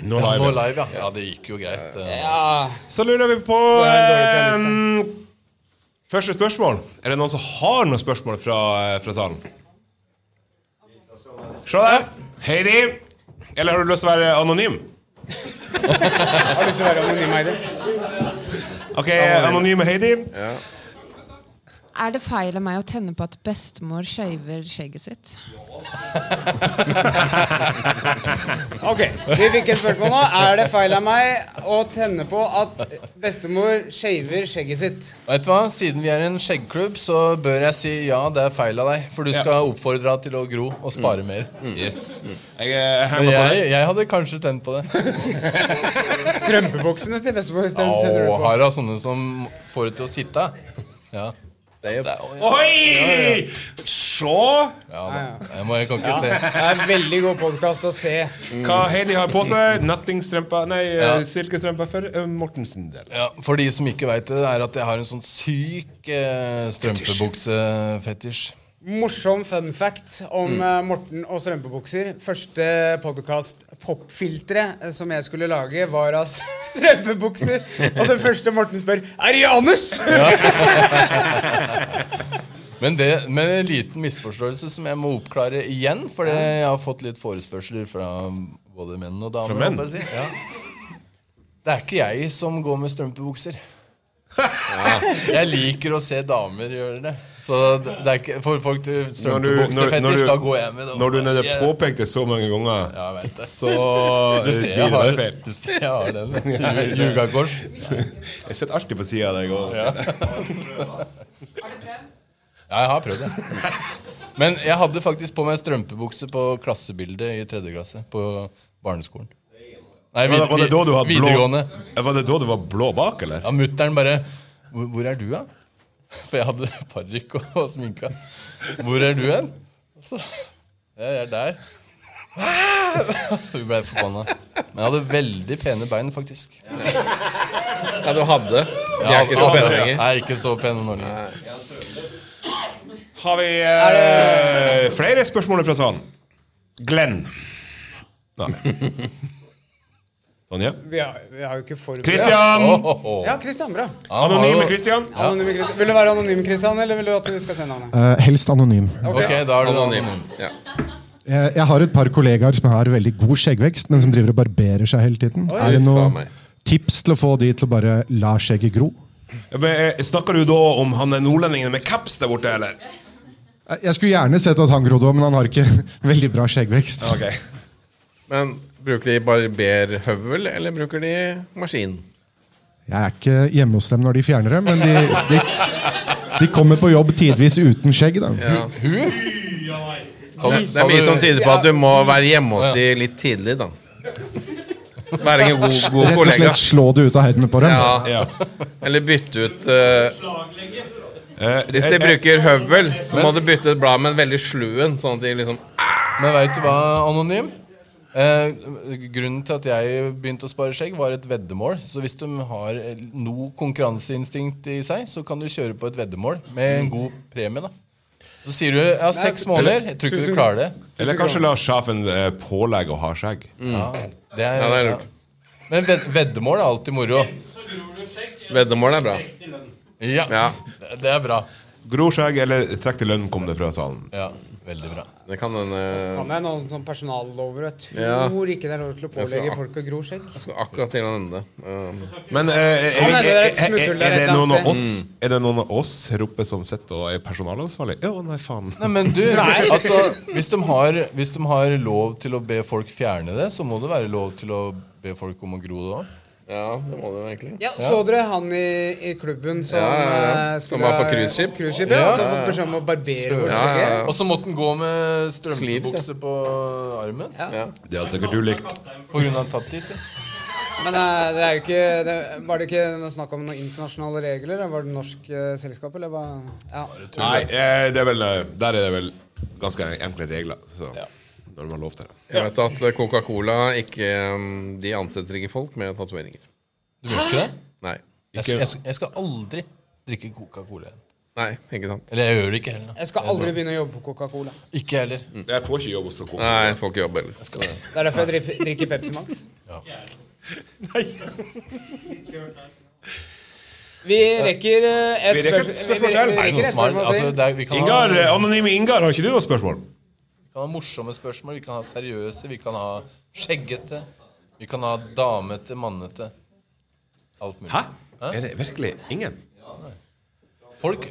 Nå Ja, har nå jeg live, ja. Ja, det gikk jo greit. eh. Ja. Så lurer vi på Det er en dårlig em, Første spørsmål. Er det noen som har noen spørsmål fra, fra salen? Se der. Heidi. Eller har du lyst til å være anonym? Har du lyst til å være anonym, Heidi? Ok, anonyme Heidi. Er det feil av meg å tenne på at bestemor shaver skjegget sitt? Ok, vi fikk et spørsmål nå. Er det feil av meg å tenne på at bestemor shaver skjegget sitt? Vet du hva? Siden vi er en skjeggklubb, så bør jeg si ja, det er feil av deg. For du skal oppfordre deg til å gro og spare mer. Mm. Yes. Jeg eh, henger Men på jeg, det. jeg hadde kanskje tent på det. Strømpebuksene til bestemor Å, tenner du på. har du sånne som får det til å sitte? Ja. Stay up. Oi! Se ja da. Jeg, må, jeg kan ikke se. Det er veldig god podkast å se. hva Heidi har på seg. Nattingstrømpa Nei, Ja. eh, silkestrømpa for eh, Mortensen del. Ja, for de som ikke veit det, det er at jeg har en sånn syk eh, strømpebuksefetisj. Morsom fun fact om Mm. eh, Morten og strømpebukser. Første podkast popfilteret eh, som jeg skulle lage, var av [LAUGHS] s- strømpebukser. Og det første Morten spør, er Janus! Men det med en liten misforståelse som jeg må oppklare igjen, fordi jeg har fått litt forespørsler fra både menn og damer. Fra menn? håper jeg å si. Ja. Det er ikke jeg som går med [LAUGHS] strømpebukser. Jeg liker å se damer gjøre det. Så det det er ikke, for folk til Når du- når- når strømpebuksefetisj, du- da går jeg med det. Når du nødde Yeah. påpekte så mange ganger, Ja, jeg vet det. [LAUGHS] så eh, Du ser blir jeg det har, [LAUGHS] bare feil. du ser jeg har den. Nei, Ju- Ljugakors. Jeg sitter alltid på sida av deg. Og, Ja, jeg har prøvd det. Men jeg hadde faktisk på meg strømpebukse på klassebildet i tredje klasse på barneskolen. Nei, Var det- var det da du hadde blå- videregående. Var det da du var blå bak, eller? Ja, Mutter'n bare hvor, 'Hvor er du, da?' For jeg hadde parykk og, og sminka. 'Hvor er du hen?' Så 'Jeg er der'. Hun ble forbanna. Men jeg hadde veldig pene bein, faktisk. Ja, du hadde. De er ikke så pene lenger. Nei, ikke så pene nå lenger. Har vi eh, flere spørsmål fra salen? Glenn. [LAUGHS] Nei. Sonja? [LAUGHS] Vi har, vi har jo ikke forberedt Christian! Åh, åh, åh. Ja, Christian, bra. Ah, Han har Anonyme jo- Christian. Anonyme Christian. Vil du være anonym, Christian, eller vil du at vi skal se navnet? Eh, helst anonym. Ok, da er det Anonym. anonym. Ja. Jeg, jeg har et par kollegaer som har veldig god skjeggvekst, men som driver og barberer seg hele tiden. er det faen noen meg. tips til å få de til å bare la skjegget gro? Ja, men, eh, Snakker du da om han er nordlendingen med kaps der borte, eller? Eh, Jeg skulle gjerne sett at han grodde òg, men han har ikke [LAUGHS] veldig bra skjeggvekst. Ok. Men bruker de barberhøvel, eller bruker de maskin? Jeg er ikke hjemme hos dem når de fjerner det, men de, de, de kommer på jobb tidvis uten skjegg. da. Sånn- Det er mye som tyder på at du må være hjemme hos de litt tidlig, da. Være en god, god Rett og kollega. slett slå det ut av hendene på dem. Ja, [LAUGHS] Ja. eller bytte ut eh, Eh, Hvis de eh, bruker høvel, så må du bytte ut bladet med en veldig sluen, sånn at de liksom Men veit du hva, Anonym? Eh, grunnen til at jeg begynte å spare skjegg, var et veddemål. Så hvis de har eh, noe konkurranseinstinkt i seg, så kan du kjøre på et veddemål med en god premie. da Så sier du ja, seks måneder. Jeg tror ikke du klarer det. Eller kanskje la sjefen eh, pålegge å ha skjegg. Ja, det Ja, er, det er ja. Men ved, veddemål er alltid moro. Veddemål er bra. Ja, Ja, det- det er bra. Gror skjegg eller trekk til lønn, kom det fra salen. Ja, veldig bra. det kan hende Kan jeg noen sånn personallover? Jeg Ja. tror ikke det er lov til å skal pålegge ak- folk å gro skjegg. Jeg skal akkurat til å nevne det. Um, Men eh, eh, Kan eh, det være et eh, eh, smutthull der er det et eller noen annet av oss Er det noen av oss her oppe som sitter og er personalansvarlig? Å, nei, [LAUGHS] faen. Nei, men du, altså, hvis de, har, hvis de har lov til å be folk fjerne det, så må det være lov til å be folk om å gro det òg. Ja, det må det jo egentlig. Ja, Så dere han i, i klubben som Ja, ja, ja. eh, Som var på cruiseskip? cruiseskip, ja, Ja, Som ja, fått beskjed om å barbere bort Ja, ja, skjegget? ja. Og så måtte den gå med Sleeves, ja. strømpebukse på armen Det hadde sikkert du likt. på grunn av tattis. ja. Men eh, det er jo ikke det, Var det ikke noe snakk om noen internasjonale regler? Var det norsk eh, selskap, eller hva? Ja. Nei, eh, det er vel, eh, der er det vel ganske enkle regler. Så når de har lov til det. Jeg vet at Coca-Cola ikke um, De ansetter ikke folk med tatoveringer. Du gjør ikke det? Nei. Jeg, Ikke- jeg, jeg skal aldri drikke Coca-Cola igjen. Nei, ikke sant. Eller jeg gjør det ikke heller. nå. Jeg skal aldri begynne å jobbe på Coca-Cola. Ikke heller. Jeg får ikke jobb hos Coca-Cola. Nei, jeg får ikke jobb heller. Det er derfor jeg drikker, drikker Pepsi Max. Vi rekker eh, et Vi rekker spørs- spørsmål til. Vi, vi, vi Er det rekker noen et som har, spørsmål altså, til. det er, vi, kan [LAUGHS] ha, Ingar, eh, Anonyme Ingar, har ikke du noe spørsmål? vi kan ha morsomme spørsmål, vi kan ha seriøse, vi kan ha skjeggete. Vi kan ha damete, mannete. Alt mulig. Hæ? Er det virkelig ingen? Folk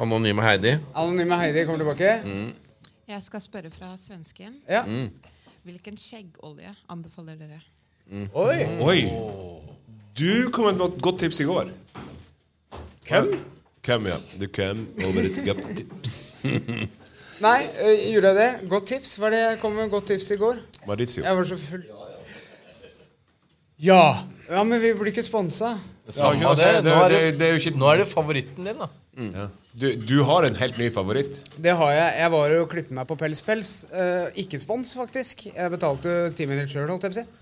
Anonyme Heidi. Anonyme Heidi kommer tilbake. Jeg skal spørre fra svensken. Ja. Hvilken skjeggolje anbefaler dere? Oi! Oi. Du kom med et godt tips i går. Hvem? Hvem, ja. Du kom over et godt tips. [LAUGHS] Nei, eh, gjorde jeg det? Godt tips. Var det jeg kom med godt tips i går? Maritio. Jeg var så full. Ja. Ja, men vi blir ikke sponsa. Samme Ja, av det. det- Nå er det, det- det er jo ikke- nå er det favoritten din, da. Ja. Du, du har en helt ny favoritt. Det har jeg. Jeg var og klippet meg på Pels Pels. Eh, ikke spons, faktisk. Jeg betalte ti minutter sjøl, holdt jeg på å si.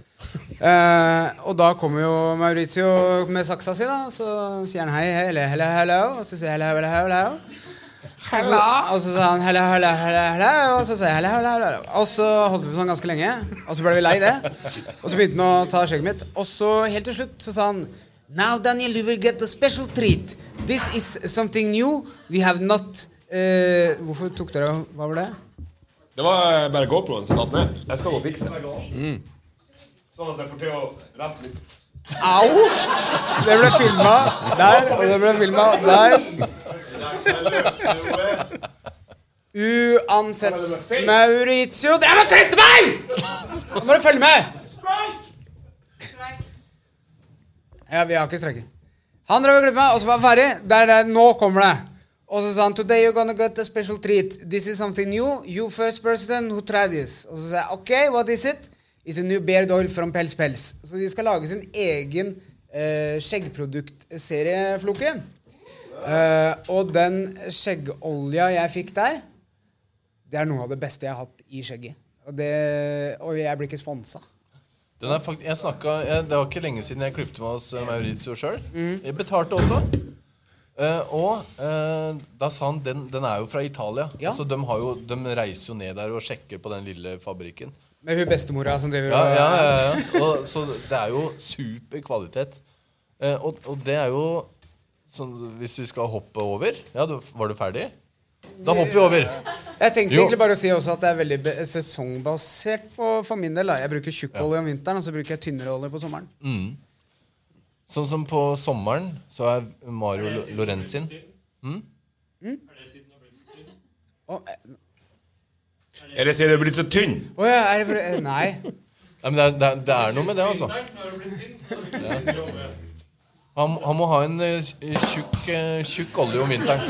Eh, og da kommer jo Maurizio med saksa si, da. Så sier han hei, hei, hello, hello, hello. Og så sier jeg hello, hello, hello. Og så, Altså, og så sa han hello, hello, hello, hello. Og så sa jeg hello, hello, hello. Og så holdt vi på sånn ganske lenge. Og så ble vi lei det. Og så begynte han å ta skjegget mitt. Og så helt til slutt så sa han Now, Daniel, you will get a special treat. This is something new. We have not eh, Hvorfor tok dere Hva var det? Det var eh, bare GoProen som datt ned. Jeg skal gå og fikse det. Sånn at jeg får til å rette litt. Au! Det ble filma der, og det ble filma der. Uansett Maurizio Dere må kutte meg! Nå må du følge med! Ja, vi har ikke streiket. Han drev og klippet meg, og så var han ferdig. Der, der, nå kommer det. Og så sa han Today you're gonna get a special treat. This is something new. You first person who try this. Og så sa jeg OK, what is it? It's a new beard oil from Pels Pels. Så de skal lage sin egen eh, skjeggproduktserie, Floke. Eh, og den skjeggolja jeg fikk der, det er noe av det beste jeg har hatt i skjegget. Og, det, og jeg blir ikke sponsa. Den er fakt jeg snakket, jeg, det var ikke lenge siden jeg klippte meg hos eh, Maurizio sjøl. Jeg betalte også. Eh, og eh, da sa han den, den er jo fra Italia. Ja. Så de, har jo, de reiser jo ned der og sjekker på den lille fabrikken. Med hun bestemora som driver Ja, og- ja, ja, ja. Og, så det er jo super kvalitet. Eh, og, og det er jo sånn Hvis vi skal hoppe over Ja, du, var du ferdig? Da hopper vi over. Jeg tenkte Jo. egentlig bare å si også at det er veldig be- sesongbasert på, for min del. Da. Jeg bruker tjukkolje om vinteren, og så bruker jeg tynnere olje på sommeren. Sånn som på sommeren, så er Mario Lo- Lorenzin Å eh, Eller sier du er blitt så tynn? å ja, er det for, eh, Nei. Nei, men det, er- det, er- det er noe med det, altså. Han, han må ha en eh, tjukk, eh, tjukk olje om vinteren.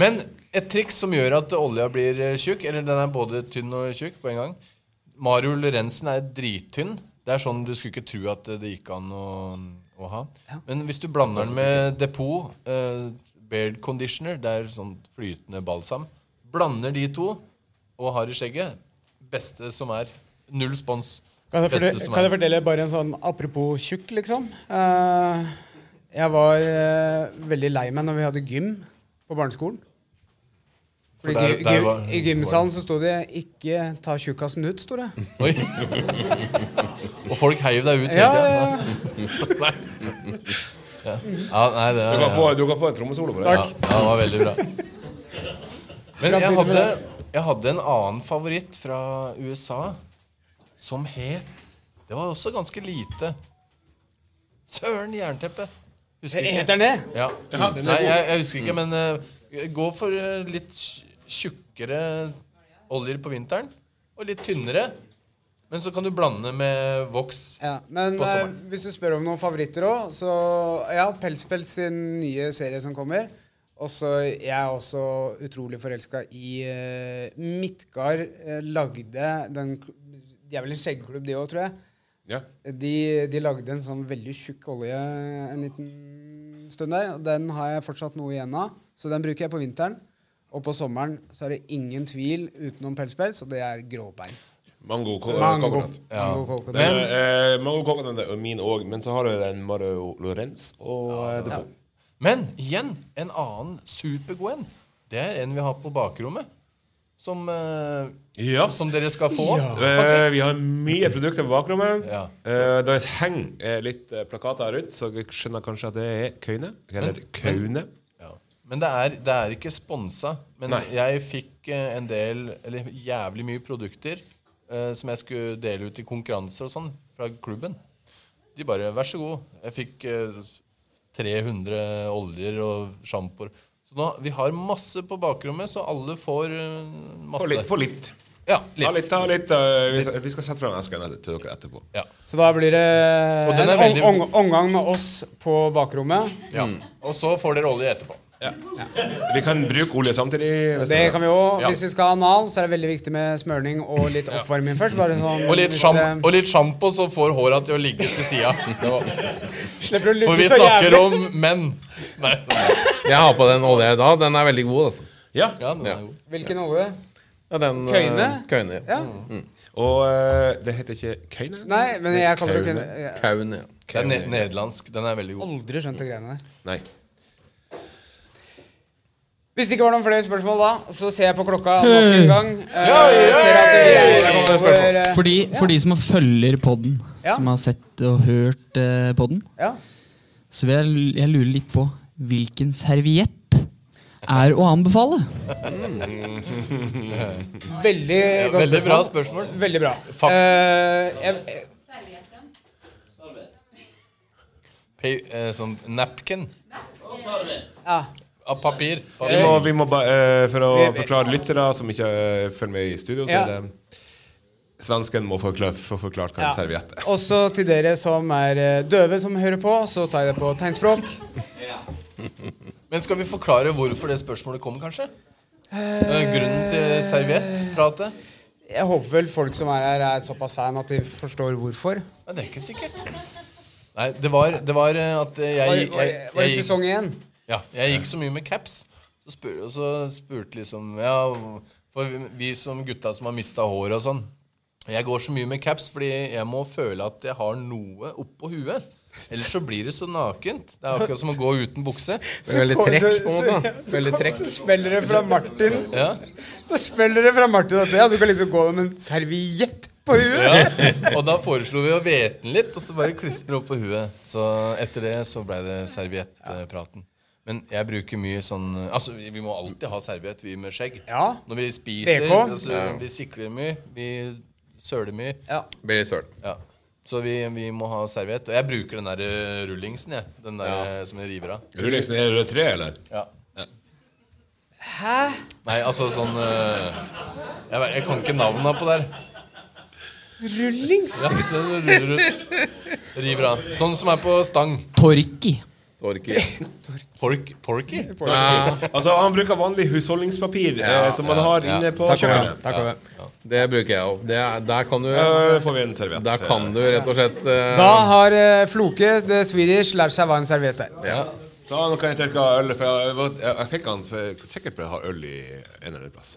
Men et triks som gjør at olja blir eh, tjukk, eller den er både tynn og tjukk på en gang Mario Lorentzen er drittynn. Det er sånn du skulle ikke tro at det gikk an å, å ha. Men hvis du blander den med Depot, eh, Beard Conditioner, det er sånn flytende balsam Blander de to og har i skjegget Beste som er. Null spons. Kan jeg, Beste fortelle, som kan jeg er. fortelle bare en sånn apropos tjukk, liksom? Eh, jeg var eh, veldig lei meg når vi hadde gym på barneskolen. For Fordi der- gym- der gym- var- I gymsalen så sto det 'ikke ta tjukkasen ut', sto [LAUGHS] det. [LAUGHS] Oi. Og folk heiv deg ut hele Ja, ja, tiden. [LAUGHS] Nei. Ja. ja, nei, det Du kan få, du kan få en trommesolo på det. Ja, ja, det var veldig bra. Men jeg hadde, jeg hadde en annen favoritt fra USA som het Det var også ganske lite. Søren jernteppe. Husker ikke. Heter den det? Ja. den er Nei, god. jeg, jeg husker ikke, men eh, gå for eh, litt tj- tjukkere oljer på vinteren. Og litt tynnere. Men så kan du blande med voks. Ja, men På sommeren. eh, hvis du spør om noen favoritter òg, så ja, Pelspels sin nye serie som kommer. Også, jeg er også utrolig forelska i eh, Midtgard eh, lagde den kl- De er vel en skjeggklubb, de òg, tror jeg. Ja. De, de lagde en sånn veldig tjukk olje en liten stund der. og Den har jeg fortsatt noe igjen av, så den bruker jeg på vinteren. Og på sommeren så er det ingen tvil utenom pelspels, og det er gråbein. Mango ko- eh, Mango. coconut. Mango coconut. Den, eh, mango coconut er min òg, men så har du den Mario Lorenz og eh, det- Men igjen, en annen supergod en. Det er en vi har på bakrommet. Som, eh, Ja. som dere skal få. Eh, faktisk. vi har mye produkter på bakrommet. Ja. Eh, det henger eh, litt eh, plakater rundt, så jeg skjønner kanskje at det er Kaune. Eller Kaune. Ja. Men det er, det er ikke sponsa. Men Nei. jeg fikk eh, en del, eller jævlig mye produkter eh, som jeg skulle dele ut i konkurranser og sånn, fra klubben. De bare 'vær så god'. Jeg fikk eh, 300 oljer og sjampoer. Så nå, vi har masse på bakrommet, så alle får eh, For masse. litt. For litt. Ja, Ta litt. litt, ta litt. eh, vi, vi skal sette fram esken et- til dere etterpå. Ja. Så da blir det Og den en er veldig- ong- ong- omgang med oss på bakrommet. Ja. Og så får dere olje etterpå. Vi kan bruke olje samtidig. hvis Det kan vi òg. Ja. Hvis vi skal ha anal, så er det veldig viktig med smørning og litt oppvarming først. Bare sånn, Og litt, hvis sjam det- og litt sjampo, så får håra til å ligge til [LAUGHS] sida. Slipper å lugge For vi så snakker jævlig. om menn. Nei, nei. Jeg har på den olja i dag. Den er veldig god, altså. Ja. Ja, den Ja. er god. Hvilken olje? Ja, den, eh, Køyne? Køyne, ja. Ja. Og eh, det heter ikke Kaune? Nei, men jeg kaller det ikke Kaune. jeg- Kaune, ja. Det er ne nederlandsk. Den er veldig god. Aldri skjønt de greiene der. Nei. Hvis det ikke var noen flere spørsmål da, så ser jeg på klokka nok en gang. Eh, ser at vi Der er kommer det spørsmål. over, eh, For de, for de som følger podden, Ja. som har sett og hørt eh, podden, ja. så vil jeg, jeg lure litt på hvilken serviett er å anbefale? Veldig godt Veldig bra spørsmål. spørsmål. Veldig bra. Fuck. Eh, jeg, Pa eh, sånn napkin. ja. Av papir. Vi må, vi må ba, eh, for å forklare lyttere som ikke eh, følger med i studio, så Ja. er det Svensken må forklare, få forklart hva en Ja. serviett er. Også til dere som er eh, døve som hører på, så tar jeg det på tegnspråk. Men skal vi forklare hvorfor det spørsmålet kom, kanskje? Eh, Grunnen til serviettpratet? Jeg håper vel folk som er her, er såpass fan at de forstår hvorfor. Nei, det er ikke sikkert. Nei, det var, det var eh, at eh, Var, jeg, var, jeg, var det jeg, jeg, sesong én? ja, jeg gikk så mye med caps. Så spur, og så spurte liksom Ja, for vi- vi som gutta som har mista håret og sånn Jeg går så mye med caps fordi jeg må føle at jeg har noe oppå huet. Ellers så blir det så nakent. Det er akkurat som å gå uten bukse. Det er veldig trekk, på en måte. da. Veldig trekk. Så smeller det fra Martin Ja. Så smeller det fra Martin at ja, du kan liksom gå med en serviett på huet. [LAUGHS] Og da foreslo vi å vete den litt, og så bare klistre opp på huet. Så etter det så blei det serviettpraten. Men jeg bruker mye sånn Altså, vi vi må alltid ha serviett, vi med skjegg. Ja. Når vi spiser, BK. altså, vi sikler mye, vi søler mye. Billy Søl. Ja. Så vi, vi må ha serviett. Og jeg bruker den der eh, rullingsen, jeg. Den der eh, som jeg river av. Rullingsen, er det tre, eller? Ja. Hæ? Nei, altså sånn eh, jeg, vet- jeg kan ikke navnene på der. Rullings. Ja, den ruller ut. River av. Sånn som er på stang. Torki. [LAUGHS] Torki. Pork, porky? Ja, Altså, han bruker vanlig husholdningspapir eh, som man har inne på kjøkkenet. det bruker jeg òg. Der kan du Eh, får vi en serviett. Der kan du rett og slett eh, Da har eh, Floke, the Swedish, lært seg hva en serviett er. ja. Ta noe jeg tørka øl, for jeg, var- jeg, jeg fikk han for, sikkert for å ha øl i en eller annen plass.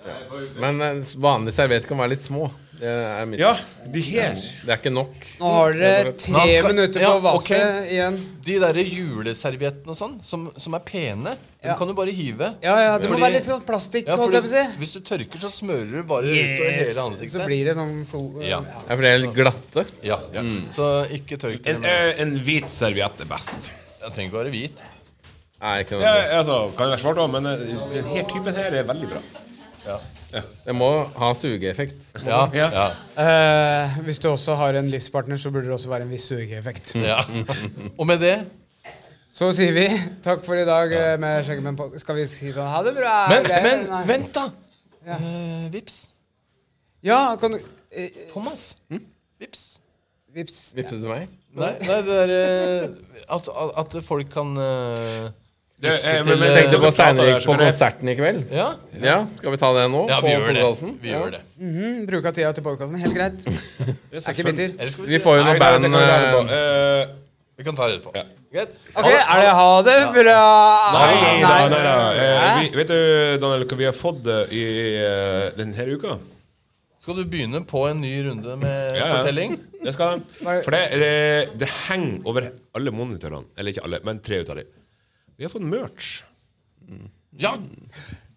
Men eh, vanlige servietter kan være litt små. Det er mitt. Ja, de her. Det er ikke nok. Nå har dere Nå tre skal- minutter på Ja, å vase ok. igjen. De der juleserviettene og sånn, som, som er pene, Ja. dem kan du bare hive. Ja, ja, det må Fordi- være litt sånn plastikk, Ja, holdt fordi jeg på å si. Hvis du tørker, så smører du bare utover Yes. hele ansiktet. Så blir det sånn flo... Ja. Ja, for de er litt glatte. Ja. Mm. Så ikke tørk En, eh, en hvit serviett er best. Jeg trenger ikke være hvit. Nei, ikke Ja, noe. altså, kan være svart òg, men eh, denne typen her er veldig bra. Det må ha sugeeffekt. Ja, ja. ja. Eh, hvis du også har en livspartner, så burde det også være en viss sugeeffekt. Mm. [LAUGHS] Og med det Så sier vi takk for i dag eh, med Skjeggemenn på Skal vi si sånn ha det bra? Men, eller? men Nei. vent, da! Eh, vips. Ja, kan du eh, Thomas. Vips. Vips. Vipset til meg. Nei, nei det er eh, at, at- at folk kan eh, Det, eh, til, men, men, eh, Tenkte dere på, prater senere, der, så på kan jeg- konserten i kveld. Ja, Ja, Skal vi ta det nå? ja vi på gjør det. podcasten? Vi Ja. gjør det. Mhm, Bruk av tida til podkasten. Helt greit. Er ikke bitter. Eller skal vi Vi si får jo Nei, noen det- det band kan vi ta etterpå. eh, Eh, Vi kan ta det etterpå. Ja. Greit. Ok, er det ha det bra? Ah, Nei da, nei da. Eh, Hæ? vi, vet du, Daniel, hva vi har fått eh, i eh, denne uka? Skal du begynne på en ny runde med Ja, ja. fortelling? Det skal de. For det, det, det henger over alle monitorene. Eller ikke alle, men tre ut av dem. Vi har fått merch. Ja!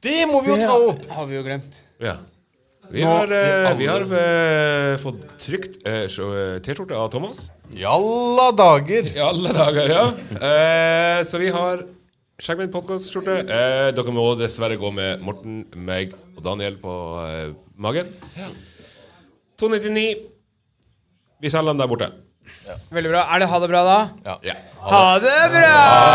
Det må vi jo ta opp! Har vi jo glemt. Ja. Vi har, eh, vi har eh, fått trykt eh, så, eh, T-skjorte av Thomas. Jalla dager! I alle dager, ja. Eh, så vi har Sjekk min podkastskjorte. Eh, dere må dessverre gå med Morten, meg og Daniel på eh, magen. 299. Vi selger den der borte. Veldig bra. Er det ha det bra, da? Ja. Ja. Ha det bra!